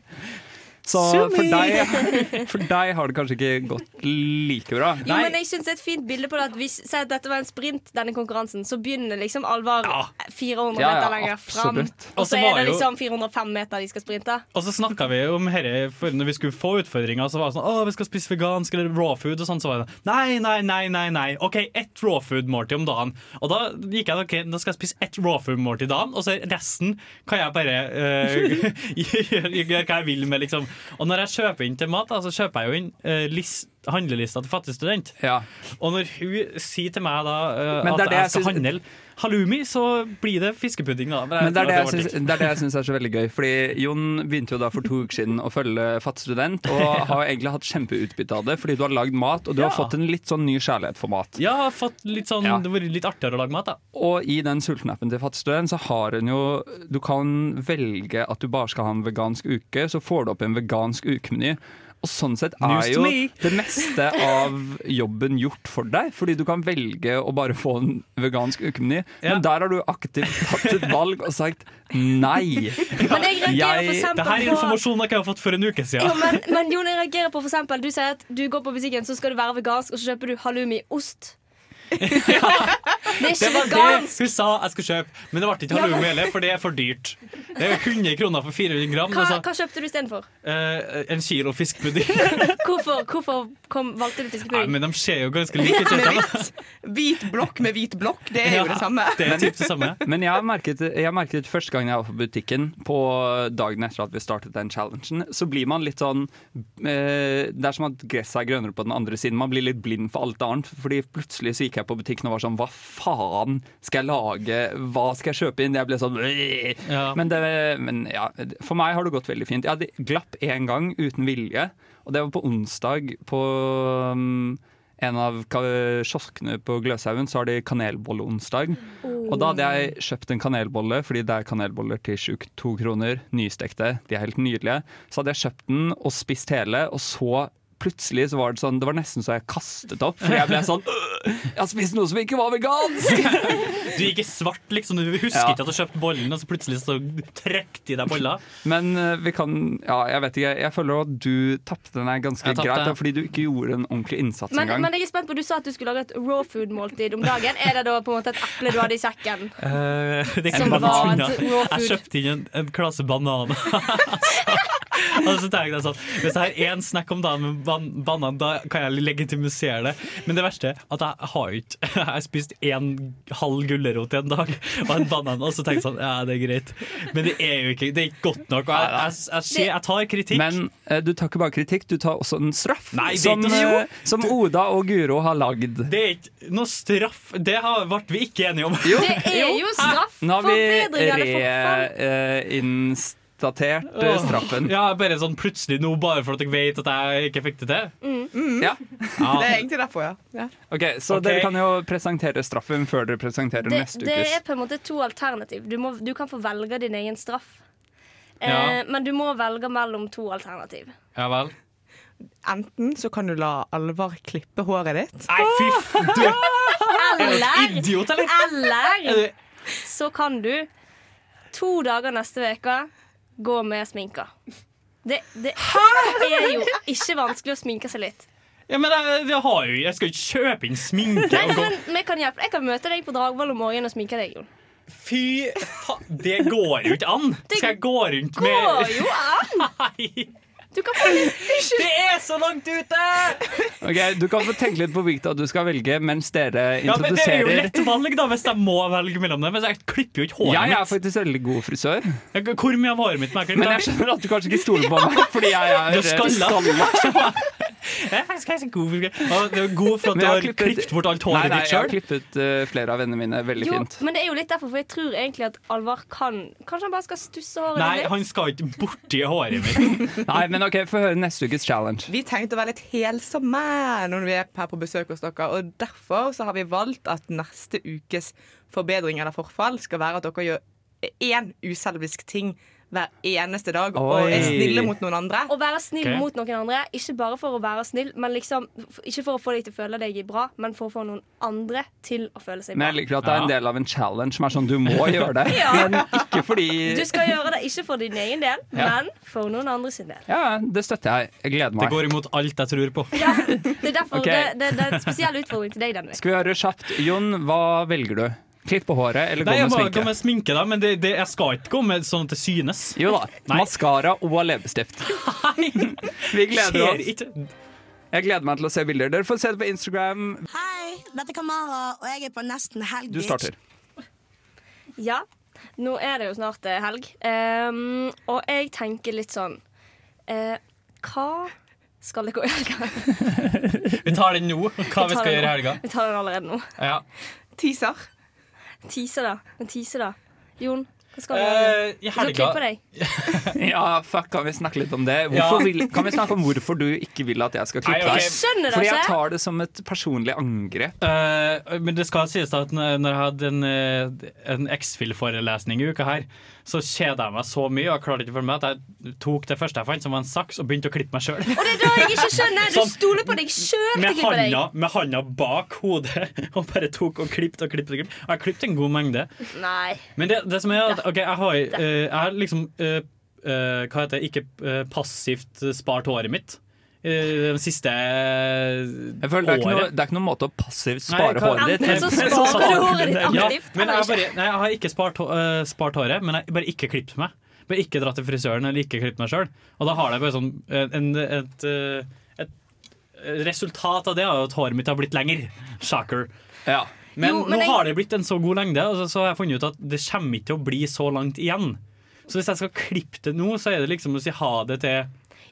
S8: Så
S11: Sumi!
S8: for deg, for deg har det kanskje ikke gått like bra.
S11: Jo, men jeg synes det er et fint bilde på det at hvis si at dette var en sprint, denne konkurransen, så begynner liksom alvor 400
S9: Ja, ja,
S11: meter lenger fram.
S9: absolutt. Og
S11: Og
S9: så
S11: så
S9: var
S11: er det
S9: jo-
S11: liksom 405 meter de skal sprinte.
S9: Og så snakka vi om herre for når vi skulle få utfordringer, så var det sånn Å, vi skal spise vegansk eller raw food og sånn. Så var det sånn, Nei, nei, nei, nei. nei OK, ett raw food-måltid om dagen. Og da gikk jeg OK, da skal jeg spise ett raw food-måltid dagen, og så resten kan jeg bare eh, gjøre gjøre hva jeg vil med, liksom. Og når jeg kjøper inn til mat, da, så kjøper jeg jo inn eh, lis- handlelista til fattig student. Og når hun sier til meg da eh,
S8: Men det er
S9: at
S8: det
S9: jeg
S8: jeg
S9: skal
S8: synes-
S9: handle halloumi, så blir det fiskepudding, da.
S8: Men det er det, jeg
S9: artig.
S8: syns, det er det jeg syns er så veldig gøy. Fordi Jon begynte jo da for to uker siden å følge Fatt student, og
S9: Ja.
S8: har egentlig hatt kjempeutbytte av det. Fordi du har lagd mat, og du har
S9: Ja.
S8: fått en litt sånn ny kjærlighet for mat.
S9: Ja, jeg har fått litt sånn, det har vært litt artigere å lage mat, da.
S8: Og i den sultenappen til Fattigstuen så har hun jo Du kan velge at du bare skal ha en vegansk uke, så får du opp en vegansk ukemeny. Og sånn sett er
S9: News to
S8: jo
S9: me.
S8: det meste av jobben gjort for deg, fordi du kan velge å bare få en vegansk ukemeny. Men der har du aktivt tatt et valg og sagt nei.
S11: Men jeg reagerer for eksempel
S9: Det her er
S11: på-
S9: informasjon jeg ikke har fått for en uke siden.
S11: Jo, men, men Jon, jeg reagerer på for eksempel, du sier at du går på butikken, så skal du være vegansk, og så kjøper du halloumi-ost. det er
S9: det
S11: ikke
S9: var det
S11: vegansk.
S9: hun sa jeg skulle kjøpe, men det ble ikke
S11: Ja, men-
S9: halloumi heller, for det er for dyrt. Det er 100 kroner for 400 gram.
S11: Hva,
S9: Altså,
S11: hva kjøpte du istedenfor?
S9: eh, en kilo fiskepudding.
S11: Hvorfor, hvorfor kom, valgte du
S9: Nei,
S11: fiskepudding?
S9: men de ser jo ganske like
S5: Hvit
S9: ut.
S5: med hvit. Hvit blokk med hvit blokk, det er jo det samme.
S8: Men jeg merket, jeg merket første gang jeg var på butikken, på dagen etter at vi startet den challengen, så blir man litt sånn eh, Det er som at gresset er grønnere på den andre siden. Man blir litt blind for alt annet. Fordi plutselig så gikk jeg på butikken og var sånn Hva faen skal jeg lage? Hva skal jeg kjøpe inn? Jeg ble sånn «Øh». men, det, men ja, for meg har det gått veldig fint. Jeg hadde glapp én gang uten vilje, og det var på onsdag på um, en av ka- kioskene på Gløshaugen så har de kanelbolleonsdag. Og da hadde jeg kjøpt en kanelbolle, fordi det er kanelboller til 22 kroner. Nystekte. De er helt nydelige. Så hadde jeg kjøpt den og spist hele, og så plutselig så var det sånn Det var nesten så jeg kastet opp, for jeg ble sånn «Øh, Jeg har spist noe som ikke var vegansk!
S9: Du gikk i svart, liksom. Du
S8: Ja.
S9: husker ikke at du kjøpte bollen, og så plutselig så trekk de deg boller.
S8: Men eh, vi kan Ja, jeg vet ikke. Jeg føler at du tapte den her ganske
S9: Jeg tapte.
S8: greit, da, fordi du ikke gjorde en ordentlig innsats
S11: Men,
S8: engang.
S11: men jeg er spent på, du sa at du skulle lage et raw food-måltid om dagen. Er det da på en måte et eple du hadde i sekken?
S9: Eh, det
S11: Som
S9: kan være
S11: var
S9: tunga.
S11: et raw
S9: Jeg
S11: food.
S9: kjøpte inn en, en klasse bananer. Og så tenkte jeg sånn Hvis jeg har én snack om dagen med ban banan, da kan jeg legitimisere det. Men det verste er at jeg har jo ikke Jeg har spist en halv gulrot i en dag og en banan, og så tenkte jeg sånn Ja, det er greit. Men det er jo ikke Det er ikke godt nok. Og jeg, jeg, jeg, ser- jeg tar kritikk.
S8: Men eh, du tar ikke bare kritikk, du tar også en straff.
S9: Nei, det er
S8: som,
S9: ikke noe-
S8: eh, som Oda og Guro har lagd.
S9: det er ikke noe straff. Det har- ble vi ikke enige om.
S11: Det er jo straff!
S8: Nå har vi
S11: Forbedring, eller forfall.
S8: reinstatert eh, straffen.
S9: Ja, bare sånn plutselig nå, bare for at jeg vet at jeg ikke fikk det til.
S5: Mm.
S8: Ja.
S5: Det er egentlig derfor, ja. ja.
S8: Ok, Så
S5: Ok.
S8: dere kan jo presentere straffen før dere presenterer
S11: Det,
S8: neste
S11: det er
S8: ukes.
S11: på en måte to alternativ. Du, må, du kan få velge din egen straff. Eh,
S5: Ja.
S11: Men du må velge mellom to alternativ.
S9: Ja vel.
S5: Enten så kan du la Alvar klippe håret ditt.
S9: Nei, fy du
S11: Eller,
S9: idiot, eller? Er
S11: eller
S9: det-
S11: så kan du to dager neste uke gå med sminka. Det, det er jo ikke vanskelig å sminke seg litt.
S9: Ja, men jeg, jeg har jo Jeg skal jo ikke kjøpe inn sminke
S11: Nei,
S9: og gå
S11: men vi kan hjelpe. Jeg kan møte deg på Dragvoll om morgenen og sminke deg, Jon.
S9: Fy faen, det går jo ikke an! Skal jeg gå rundt med
S11: Går jo an!
S17: Du kan få litt
S9: Det er så langt ute!
S8: Ok, Du kan få tenke litt på hvilket du skal velge mens dere
S9: Ja, men Det er jo
S8: introduserer.
S9: lett valg, da, hvis jeg må velge mellom dem. Men jeg klipper jo ikke håret
S8: Jeg er
S9: mitt.
S8: faktisk veldig god frisør.
S9: Jeg- Hvor mye av håret mitt må jeg klippe?
S8: Men jeg skjønner at du kanskje ikke stoler på meg, fordi jeg er
S9: Du er skalla.
S8: Jeg
S9: er faktisk ganske god for Og det er god for at
S8: Men
S9: du
S8: jeg
S9: har klippet bort alt håret
S8: Nei, nei,
S9: ditt
S8: jeg har
S9: sjøl.
S8: klippet eh, flere av vennene mine veldig
S11: Jo,
S8: fint.
S11: men det er jo litt derfor, for jeg tror egentlig at Alvar kan Kanskje han bare skal stusse håret
S9: Nei,
S11: litt?
S9: han skal ikke borti håret mitt.
S8: Nei, men ok, Få høre neste ukes challenge.
S5: Vi tenkte å være litt helsomme når vi er her på besøk hos dere, og derfor så har vi valgt at neste ukes forbedring eller forfall skal være at dere gjør én uselvisk ting hver eneste dag og er
S11: Oi.
S5: snille mot noen andre.
S11: Å være snill
S5: Ok.
S11: mot noen andre, ikke bare for å være snill, men liksom f- Ikke for å få deg til å føle deg bra, men for å få noen andre til å føle seg
S8: Men
S11: bra.
S8: jeg liker at det er en del av en challenge som er sånn du må gjøre det.
S11: Ja.
S8: Men ikke fordi
S11: Du skal gjøre det ikke for din egen del,
S8: Ja.
S11: men for noen andre sin del.
S8: Ja, det støtter jeg. Jeg gleder meg.
S9: Det går imot alt jeg tror på.
S11: Det er derfor
S8: Ok.
S11: det, det, det er en spesiell utfordring til deg denne uken.
S8: Skal vi høre kjapt. Jon, hva velger du? Klipp på håret eller gå
S9: Nei, jeg
S8: med
S9: må gå
S8: sminke?
S9: med sminke, da, men det, det, jeg skal ikke gå med sånn at det synes.
S8: Jo da. Maskara og leppestift. Vi gleder
S9: Skjer
S8: oss. Jeg gleder meg til å se bilder. Dere får se det på Instagram.
S7: Hei, dette er Kamara, og jeg er på Nesten helg.
S8: Du starter.
S11: Ja, nå er det jo snart eh, helg, Ehm, og jeg tenker litt sånn eh, Hva skal jeg gå i helga?
S9: Vi tar den nå, hva vi
S11: tar
S9: skal
S11: den
S9: gjøre i
S11: nå.
S9: helga.
S11: Vi tar den allerede nå.
S9: Ja.
S5: Teaser.
S11: Teaser, da. En teaser, da. Jon, hva skal du
S8: Eh,
S11: gjøre?
S8: i
S11: Du skal
S8: helga-
S11: klippe deg.
S8: Ja, fuck, kan vi snakke litt om det?
S9: Ja.
S8: Hvorfor vil, kan vi snakke om hvorfor du ikke vil at jeg skal klippe
S9: Nei, ok.
S8: deg?
S9: Jeg skjønner det
S8: Fordi jeg
S9: ikke.
S8: tar det som et personlig angrep.
S9: Eh, men det skal sies da at når når jeg hadde en, eh, en X-Fill-forelesning i uka her, så kjeda jeg meg så mye og jeg klarte ikke for meg at jeg tok det første jeg fant, som var en saks, og begynte å klippe meg sjøl.
S11: Og det er da jeg ikke skjønner! Du
S9: Sånn.
S11: stoler på deg sjøl til å
S9: Med
S11: klippe deg.
S9: handa, med handa bak hodet og bare tok og klippet og klippet. Og klippet. Jeg har klippet en god mengde.
S11: Nei.
S9: Men det, det som er at ok, jeg har, eh, jeg har liksom eh, eh, Hva heter det? Ikke eh, passivt spart håret mitt. eh, det siste
S8: Jeg føler det er, ikke noe,
S9: året.
S8: det er ikke noen måte å passivt spare
S9: Nei, hva-
S8: håret ditt
S9: Enten så
S8: Nei,
S9: sparer
S8: sparer
S9: du
S8: du det.
S9: Ja,
S8: Ja.
S9: men jeg, bare, nei, jeg har ikke spart, hå- eh, spart håret, men jeg har bare ikke klippet meg. Bare ikke dratt til frisøren eller ikke klippet meg sjøl. Og da har jeg bare sånn eh, en, et, eh, et Resultat av det er jo at håret mitt har blitt lenger. Shocker. Men,
S11: Jo, men
S9: nå
S11: jeg-
S9: har det blitt en så god lengde, og så, så har jeg funnet ut at det kommer ikke til å bli så langt igjen. Så hvis jeg skal klippe det nå, så er det liksom å si ha det til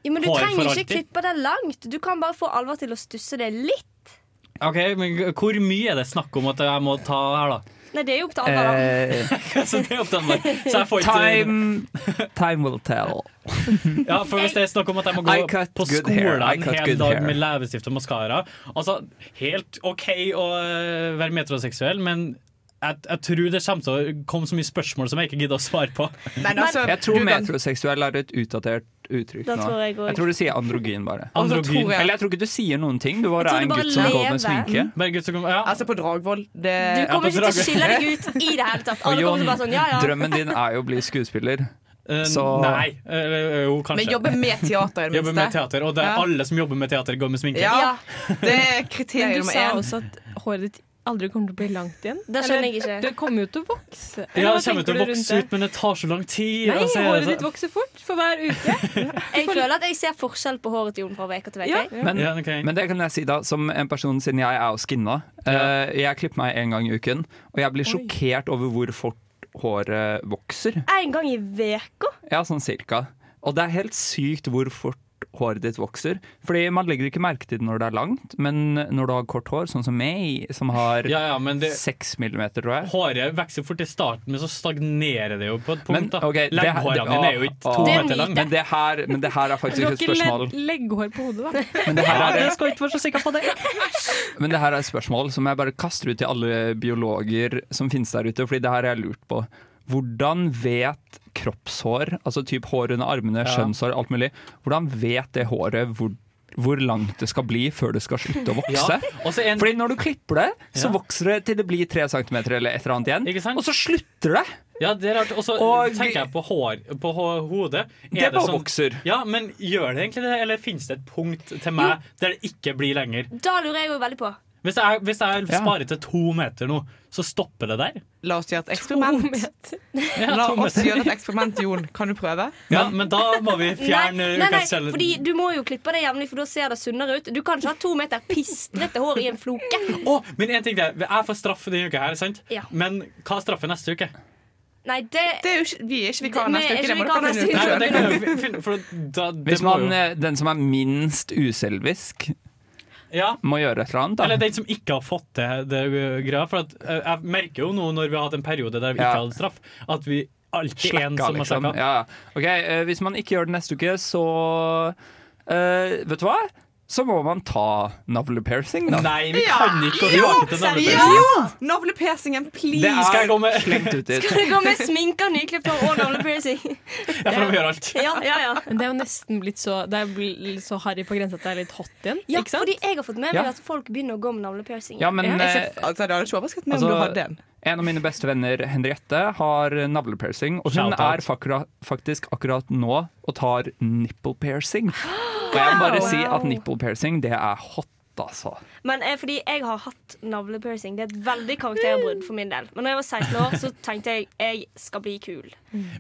S11: Jo, men du
S9: Hår for
S11: trenger ikke
S9: alltid.
S11: klippe deg langt. Du kan bare få Alvar til å stusse det litt.
S9: OK, men hvor mye er det snakk om at jeg må ta her, da?
S11: Nei, det er jo opp til Alvar, da.
S8: Eh,
S9: så det er opp til meg. Så jeg får ikke
S8: Time, time will tell.
S9: Ja, for hvis det er snakk om at jeg må
S8: I
S9: gå
S8: cut
S9: på
S8: good hair.
S9: skolen
S8: I
S9: en
S8: cut
S9: hel
S8: good
S9: dag
S8: hair.
S9: med leppestift og maskara Altså, helt OK å øh, være metroseksuell, men jeg, jeg tror det kommer til å komme så mye spørsmål som jeg ikke gidder å svare på.
S5: Men altså,
S8: Jeg tror metroseksuell er et utdatert uttrykk
S9: Da
S8: nå.
S9: tror jeg
S8: Jeg,
S9: også.
S8: tror du sier androgyn, bare.
S9: Og så tror jeg-
S8: Eller jeg tror ikke du sier noen ting. Du bare
S5: Jeg tror
S8: er
S5: du
S8: en
S5: bare
S8: gutt som går med
S5: lever.
S8: sminke.
S5: Altså på Dragvoll det...
S11: Du kommer ikke til å skille deg ut i det hele
S8: Og
S11: tatt. Alle kommer
S8: Jon,
S11: til å bare sånn, ja, ja.
S8: drømmen din er jo å bli skuespiller. Så
S9: Eh, Nei, øh, jo, kanskje.
S5: Men jobbe med teater, i det
S9: Jobber med
S5: minste.
S9: teater, og det er
S5: Ja.
S9: alle som jobber med teater, går med sminke.
S5: Ja, det er
S17: Men
S5: kriterium
S17: du sa
S5: én.
S17: også at håret ditt aldri kommer til å bli langt igjen.
S11: Det skjønner jeg
S17: Eller,
S11: ikke.
S17: Det kommer jo til å vokse.
S9: Ja,
S17: Eller hva
S9: det kommer
S17: tenker
S9: til å
S17: du rundt
S9: vokse
S17: det?
S9: ut, men det tar så lang tid.
S17: Nei,
S9: og så er
S17: håret
S9: det så-
S17: ditt vokser fort for hver uke.
S11: Jeg føler at jeg ser forskjell på håret til Jon fra uke til uke.
S8: Men, men det kan jeg si da, som en person siden jeg er jo skinna. eh, jeg klipper meg en gang i uken, og jeg blir sjokkert over hvor fort håret vokser.
S11: En gang i veka
S8: Ja, sånn cirka. Og det er helt sykt hvor fort håret ditt vokser. Fordi man legger ikke merke til det når det er langt, men når du har kort hår, sånn som meg, som har
S9: Ja, ja, men det-
S8: seks millimeter, tror jeg.
S9: Håret vokser fort i starten, men så stagnerer det jo på et
S8: Men,
S9: punkt. da.
S8: ok, det-
S9: Legghårene dine er jo ikke to
S8: Åh,
S9: meter lange.
S8: Men det her, men det her er
S17: Du
S8: faktisk
S17: har
S8: et
S17: ikke
S8: spørsmål.
S17: le- legghår på hodet, da.
S8: Men det her er-
S17: jeg skal ikke være så sikker på det.
S8: Men det her er et spørsmål som jeg bare kaster ut til alle biologer som finnes der ute, fordi det her har jeg lurt på. Hvordan vet kroppshår, altså typ hår under armene,
S9: Ja.
S8: skjønnshår, alt mulig, hvordan vet det håret hvor, hvor langt det skal bli før det skal slutte å vokse?
S9: Ja, og så en-
S8: Fordi når du klipper det, så
S9: Ja.
S8: vokser det til det blir tre centimeter eller et eller annet igjen, og så slutter det!
S9: Ja, det er rart. Og så
S8: Og-
S9: tenker jeg på hår på hå- hodet. Er
S8: Det bare
S9: sånn-
S8: vokser.
S9: Ja, men gjør det egentlig det, eller finnes det et punkt til meg der det ikke blir lenger?
S11: Da lurer jeg jo veldig på.
S9: Hvis jeg, hvis jeg sparer til to meter nå, så stopper det der?
S5: La oss gjøre et eksperiment. La
S9: to
S5: oss
S9: meter.
S5: gjøre et eksperiment, Jon. Kan du prøve?
S9: Ja, men da må vi fjerne
S11: nei, nei, nei, fordi du må jo klippe det jevnlig, for da ser det sunnere ut. Du kan ikke ha to meter pistrete hår i en floke.
S9: Men en ting til. Jeg får straff denne uka her, sant?
S11: Ja.
S9: Men hva er straffen neste uke?
S11: Nei, det,
S5: Vi er ikke
S11: vikarer
S5: neste uke, det må du
S11: vikarer
S5: finne
S11: neste
S5: ut
S11: uke.
S9: Nei, men det kan jo vi finne- for da, det
S8: Hvis
S9: må
S8: man,
S9: jo-
S8: eh, den som er minst uselvisk,
S9: ja.
S8: må gjøre et eller annet, da.
S9: Eller den som ikke har fått til det uh, greia. For at, uh, jeg merker jo nå når vi har hatt en periode der vi
S8: Ja.
S9: ikke hadde straff, at vi alltid er en
S8: Slakka,
S9: som har
S8: liksom.
S9: slakka.
S8: Ja. ja. Ok, eh, Hvis man ikke gjør det neste uke, så eh, Vet du hva? Så må man ta navlepiercing, da.
S9: Nei,
S5: vi Ja. kan ikke gå
S11: tilbake til navlepiercing.
S5: Ja! Navlepiercingen, please!
S8: Det er
S5: Skal jeg gå
S9: med-
S8: slengt ut dit.
S11: Skal det gå med sminka, nyklipt hår og navlepiercing?
S9: Ja, for de gjør alt.
S11: Ja, ja, ja.
S17: Men det er jo nesten blitt så Det er blitt så harry på grensa at det er litt hot igjen.
S11: Ja, fordi jeg har fått med meg
S8: Ja.
S11: at folk begynner å gå med navlepiercing.
S8: Ja, men,
S11: Jeg
S8: eh,
S11: ser-
S5: Altså, det hadde ikke overrasket meg om du hadde
S8: Altså,
S5: en.
S8: en av mine beste venner, Henriette, har navlepiercing. Og hun
S9: Shout
S8: er
S9: out.
S8: fakra, faktisk akkurat nå og tar nipple piercing. Og jeg må bare
S11: Wow.
S8: si at nipple piercing, det er hot, altså.
S11: Men eh, fordi jeg har hatt navlepiercing. Det er et veldig karakterbrudd for min del. Men når jeg var 16 år, så tenkte jeg jeg skal bli kul.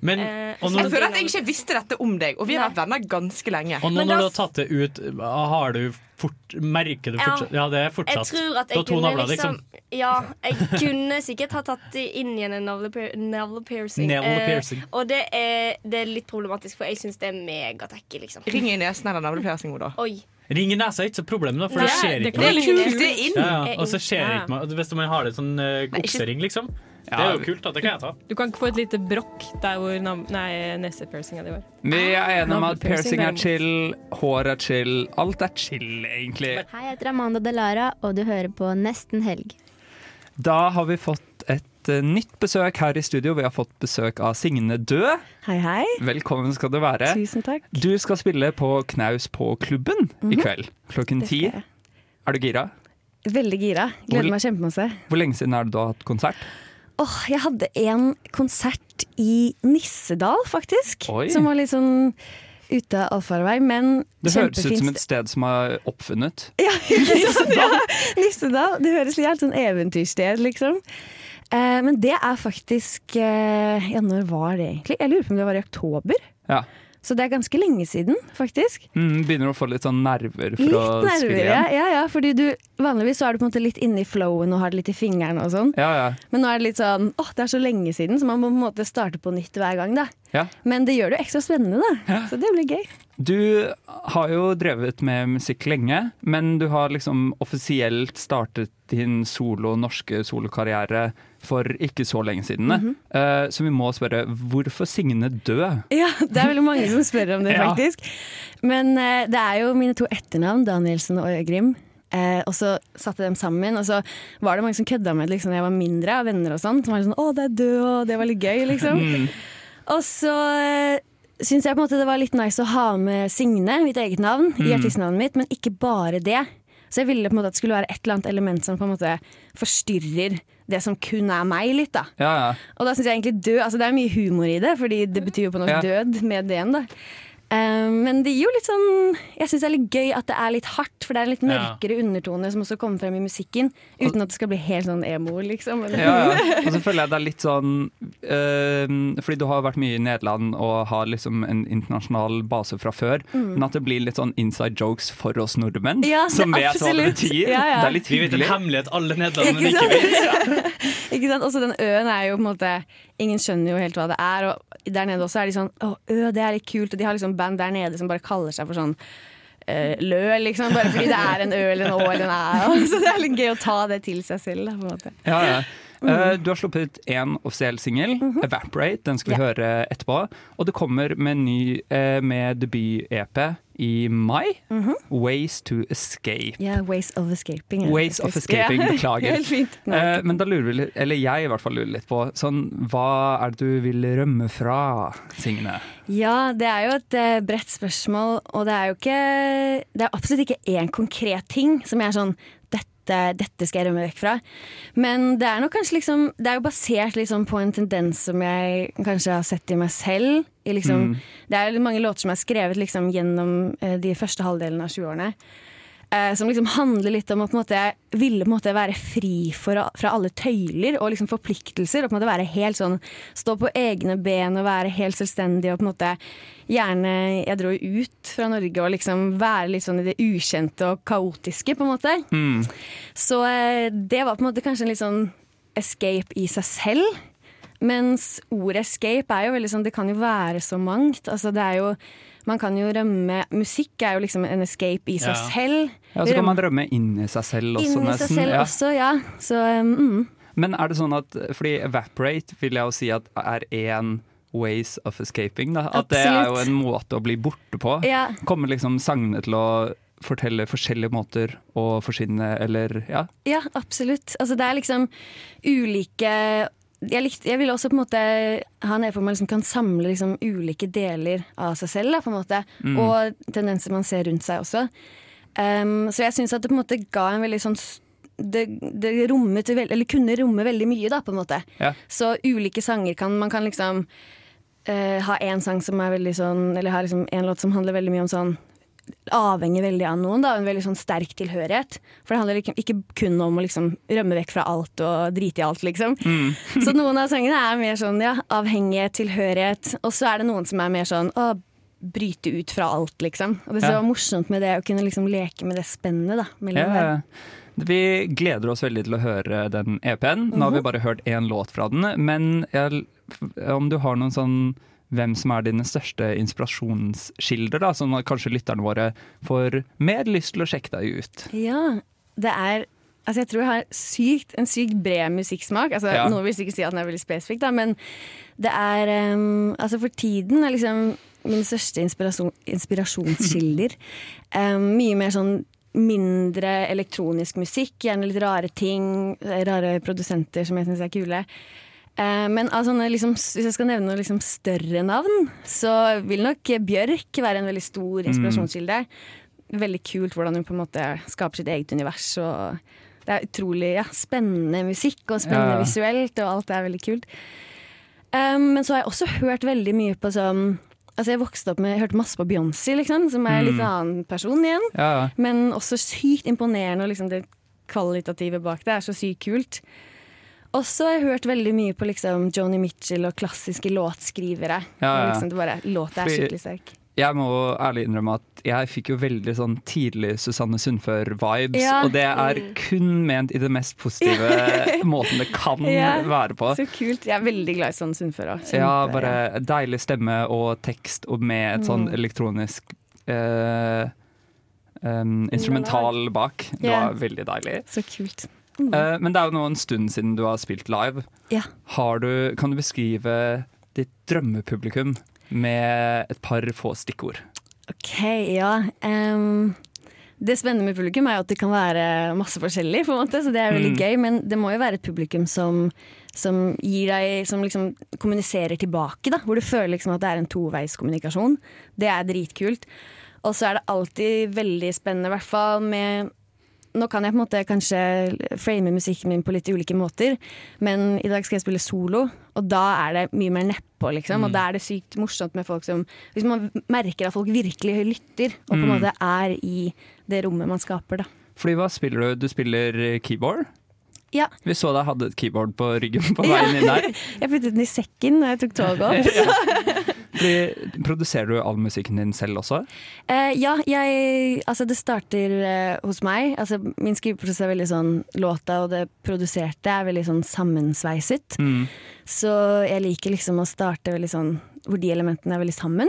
S9: Men,
S11: Eh,
S9: og nå,
S5: Jeg føler at jeg ikke visste dette om deg, og vi har vært venner ganske lenge.
S9: og nå når du har tatt det ut, ah, har du fort, merker du
S11: Ja.
S9: fortsatt Ja, det er
S11: Jeg
S9: fortsatt.
S11: tror at
S9: Du
S11: jeg
S9: har to
S11: kunne
S9: navler, liksom.
S11: Ja, jeg kunne sikkert ha tatt det inn igjen en navlepier- navlepiercing.
S9: Navlepiercing.
S11: Eh, og det er, det er litt problematisk, for jeg syns det er megatecky, liksom.
S5: Ring i nesen eller navlepiercing, Oda.
S11: Oi.
S9: Ring i nesa er ikke så problemet, da, for
S11: Nei,
S9: det skjer ikke
S11: det kan være kult.
S5: Det er inn.
S9: Ja, ja,
S17: Det er
S9: og så
S17: inn.
S9: skjer
S17: Ja.
S9: ikke man- Hvis man har det sånn uh, oksering, liksom. Det er jo kult, da. Det kan jeg ta.
S17: Du kan ikke få et lite brokk der hvor nav- nei, nesepiercinga di var.
S8: Vi er enige om at
S17: Navlepiercing
S8: piercing er
S17: er-
S8: chill, hår er chill, alt er chill, egentlig.
S18: Hei, jeg heter Amanda Delara, og du hører på Nesten helg.
S8: Da har vi fått et eh, nytt besøk her i studio. Vi har fått besøk av Signe Død.
S19: Hei, hei.
S8: Velkommen skal du være.
S19: Tusen takk.
S8: Du skal spille på Knaus på klubben i
S19: Mhm.
S8: kveld klokken
S19: Det skal
S8: ti.
S19: jeg.
S8: Er du gira?
S19: Veldig gira.
S8: Hvor-
S19: Gleder meg kjempemasse.
S8: Hvor lenge siden er det du har hatt konsert?
S19: Åh, jeg hadde en konsert i Nissedal, faktisk.
S8: Oi.
S19: Som var litt sånn ute av allfarvei, men
S8: Det høres ut som
S19: kjempefint.
S8: et sted som er oppfunnet.
S19: Ja, Nissedal. Nissedal. Det høres litt helt sånn eventyrsted, liksom. Eh, men det er faktisk eh, Ja, når var det egentlig? Jeg lurer på om det var i oktober.
S8: Ja.
S19: Så det er ganske lenge siden, faktisk.
S8: Mm, begynner å få litt sånn nerver for å
S19: Litt
S8: spille
S19: nervere, ja.
S8: igjen.
S19: ja, ja. Fordi du, vanligvis så er du på en måte litt inne i flowen og har det litt i fingeren og sånn.
S8: Ja, ja.
S19: Men nå er det litt sånn åh, det er så lenge siden, så man må på en måte starte på nytt hver gang, da.
S8: Ja.
S19: Men det gjør det jo ekstra spennende, da. Så det blir gøy.
S8: Du har jo drevet med musikk lenge, men du har liksom offisielt startet din solo, norske solokarriere for ikke så lenge siden.
S19: Mhm.
S8: Eh, så vi må spørre, hvorfor Signe død?
S19: Ja, det er veldig mange som spør om det,
S8: Ja.
S19: faktisk. Men eh, det er jo mine to etternavn, Danielsen og Øyegrim. Eh, og så satte de sammen, og så var det mange som kødda med det liksom, da jeg var mindre, av venner og sånn. Som var sånn 'Å, det er død', og det var litt gøy, liksom.
S8: Mm.
S19: Og så eh, syns jeg på en måte det var litt nice å ha med Signe, mitt eget navn, i
S20: Mm.
S19: artistnavnet mitt, men ikke bare det. Så jeg ville på en måte at det skulle være et eller annet element som på en måte forstyrrer det som kun er meg, litt, da.
S8: Ja, ja.
S19: Og da syns jeg egentlig død Altså det er mye humor i det, fordi det betyr jo på
S8: Ja.
S19: norsk død med D-en, da. Eh, men det gir jo litt sånn Jeg syns det er litt gøy at det er litt hardt, for det er litt
S8: Ja.
S19: mørkere undertoner som også kommer frem i musikken, uten at det skal bli helt sånn emo, liksom. eller-
S8: Ja, ja. Og så føler jeg det er litt sånn eh, Fordi du har vært mye i Nederland og har liksom en internasjonal base fra før,
S19: Mm.
S8: men at det blir litt sånn inside jokes for oss nordmenn,
S19: Ja, det-
S8: som vet hva det
S19: absolutt.
S8: betyr.
S19: Ja, ja.
S8: Det er litt
S9: Vi vet en
S8: hyggelig.
S9: hemmelighet alle nederlenderne
S19: Ikke
S9: ikke
S19: sant?
S9: vet.
S19: Ikke sant? Også den øen er jo på en måte Ingen skjønner jo helt hva det er. Og der nede også er de sånn Å, ø, det er litt kult. Og de har liksom band der nede som bare kaller seg for sånn eh, lø, liksom. Bare fordi det er en ø eller en å eller en æ. og Så det er litt gøy å ta det til seg selv, da, på en måte.
S8: Ja, ja.
S19: Mm.
S8: Eh, du har sluppet én offisiell singel, 'Evaporate'. Den skal vi
S19: Mhm. Ja.
S8: høre etterpå. Og du kommer med en ny eh, med debut-EP i mai.
S19: Mhm.
S8: 'Ways to Escape'.
S19: Ja, Ways of Escaping. er det
S8: Ways of
S19: faktisk.
S8: escaping,
S19: Ja,
S8: beklager.
S19: Helt fint.
S8: Eh, men da lurer vi litt, eller jeg i hvert fall lurer litt på, sånn, hva er det du vil rømme fra, Signe?
S19: Ja, det er jo et eh, bredt spørsmål, og det er jo ikke Det er absolutt ikke én konkret ting som jeg er sånn dette, dette skal jeg rømme vekk fra. Men det er nok kanskje liksom Det er jo basert liksom på en tendens som jeg kanskje har sett i meg selv. I liksom,
S20: Mm.
S19: Det er mange låter som er skrevet liksom gjennom eh, de første halvdelene av 20-årene. eh, som liksom handler litt om å på en måte, ville på en måte være fri for, fra alle tøyler og liksom forpliktelser. Og på en måte være helt sånn, stå på egne ben og være helt selvstendig. Og på en måte gjerne Jeg dro jo ut fra Norge og liksom være litt sånn i det ukjente og kaotiske, på en måte.
S8: Mm.
S19: Så eh, det var på en måte kanskje en litt sånn escape i seg selv. Mens ordet escape er jo veldig sånn Det kan jo være så mangt. Altså det er jo Man kan jo rømme Musikk er jo liksom en escape i seg
S8: Ja.
S19: selv.
S8: Ja, så Altså, kan man rømme inn i seg selv også,
S19: Inni seg
S8: nesten.
S19: selv
S8: ja.
S19: også, ja. Så mm.
S8: Men er det sånn at Fordi evaporate vil jeg jo si at er én ways of escaping. Da. At det er jo
S19: Absolutt.
S8: en måte å bli borte på.
S19: Ja.
S8: Kommer liksom sangene til å fortelle forskjellige måter å forsvinne eller ja.
S19: Ja, absolutt. Altså, det er liksom ulike jeg, likte, jeg ville også på en måte ha en e-post man liksom kan samle liksom ulike deler av seg selv. Da, på en måte.
S18: Mm.
S19: Og tendenser man ser rundt seg også. Um, så jeg syns at det på en måte ga en veldig sånn s- det, det rommet vel- eller kunne romme veldig mye, da, på en måte.
S8: Ja.
S19: Så ulike sanger kan Man kan liksom eh, ha en sang som er veldig sånn Eller ha liksom en låt som handler veldig mye om sånn Avhenger veldig av noen, da. En veldig sånn sterk tilhørighet. For det handler liksom ikke kun om å liksom rømme vekk fra alt og drite i alt, liksom.
S8: Mm.
S19: så noen av sangene er mer sånn ja, avhengighet, tilhørighet. Og så er det noen som er mer sånn å bryte ut fra alt, liksom. Og det som
S8: Ja.
S19: var morsomt med det, å kunne liksom leke med det spennet, da. Mellom
S8: Ja,
S19: der.
S8: ja. Vi gleder oss veldig til å høre den EP-en. Nå har
S19: Mhm.
S8: vi bare hørt én låt fra den. Men jeg, om du har noen sånn hvem som er dine største inspirasjonskilder, da, sånn at kanskje lytterne våre får mer lyst til å sjekke deg ut.
S19: Ja, det er Altså jeg tror jeg har sykt, en sykt bred musikksmak. Altså,
S8: Ja.
S19: Noen vil sikkert si at den er veldig spesifikk, da, men det er ehm, Altså for tiden er liksom mine største inspirasjon, inspirasjonskilder ehm, mye mer sånn mindre elektronisk musikk, gjerne litt rare ting, rare produsenter som jeg syns er kule. Eh, Men av sånne, liksom, s- hvis jeg skal nevne noen liksom større navn, så vil nok Bjørk være en veldig stor inspirasjonskilde. Veldig kult hvordan hun på en måte skaper sitt eget univers. Og det er utrolig ja, spennende musikk, og spennende
S18: Ja.
S19: visuelt, og alt er veldig kult. Um, men så har jeg også hørt veldig mye på sånn Altså Jeg vokste opp med, jeg hørte masse på Beyoncé, liksom, som er en litt
S8: Mm.
S19: annen person igjen.
S8: Ja.
S19: Men også sykt imponerende, og liksom det kvalitative bak det er så sykt kult. Også har jeg hørt veldig mye på liksom Joni Mitchell og klassiske låtskrivere.
S8: Ja, ja.
S19: Og liksom det bare, Låta er
S8: Fordi-
S19: skikkelig sterk.
S8: Jeg må ærlig innrømme at jeg fikk jo veldig sånn tidlig Susanne Sundfør-vibes.
S19: Ja.
S8: Og det er kun ment i det mest positive måten det kan
S19: Ja,
S8: være på.
S19: Så kult. Jeg er veldig glad i sånn Sundfør òg.
S8: Ja, bare deilig stemme og tekst og med et sånn
S19: Mm.
S8: elektronisk eh, em, instrumental bak. Det
S19: Ja.
S8: var veldig deilig.
S19: Så kult.
S8: Eh, men det er jo nå en stund siden du har spilt live.
S19: Ja.
S8: Har du, kan du beskrive ditt drømmepublikum med et par få stikkord?
S19: Ok, ja. Ehm, det spennende med publikum er jo at det kan være masse forskjellig, på en måte, så det er veldig
S18: Mm.
S19: gøy. Men det må jo være et publikum som, som gir deg Som liksom kommuniserer tilbake, da. Hvor du føler liksom at det er en toveiskommunikasjon. Det er dritkult. Og så er det alltid veldig spennende, i hvert fall med nå kan jeg på en måte kanskje frame musikken min på litt ulike måter, men i dag skal jeg spille solo, og da er det mye mer nedpå, liksom. Og da er det sykt morsomt med folk som Hvis man merker at folk virkelig lytter, og på en
S8: Mm.
S19: måte er i det rommet man skaper, da.
S8: Fordi hva spiller du? Du spiller keyboard?
S19: Ja.
S8: Vi så deg hadde et keyboard på ryggen på
S19: Ja.
S8: veien inn der.
S19: jeg puttet den i sekken da jeg tok toget opp. Så.
S8: Fordi, produserer du all musikken din selv også?
S19: Eh, ja, jeg, altså det starter eh, hos meg. Altså min skriveprosess er veldig sånn Låta og det produserte er veldig sånn sammensveiset.
S8: Mm.
S19: Så jeg liker liksom å starte veldig sånn hvor de elementene er veldig sammen.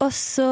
S19: Og så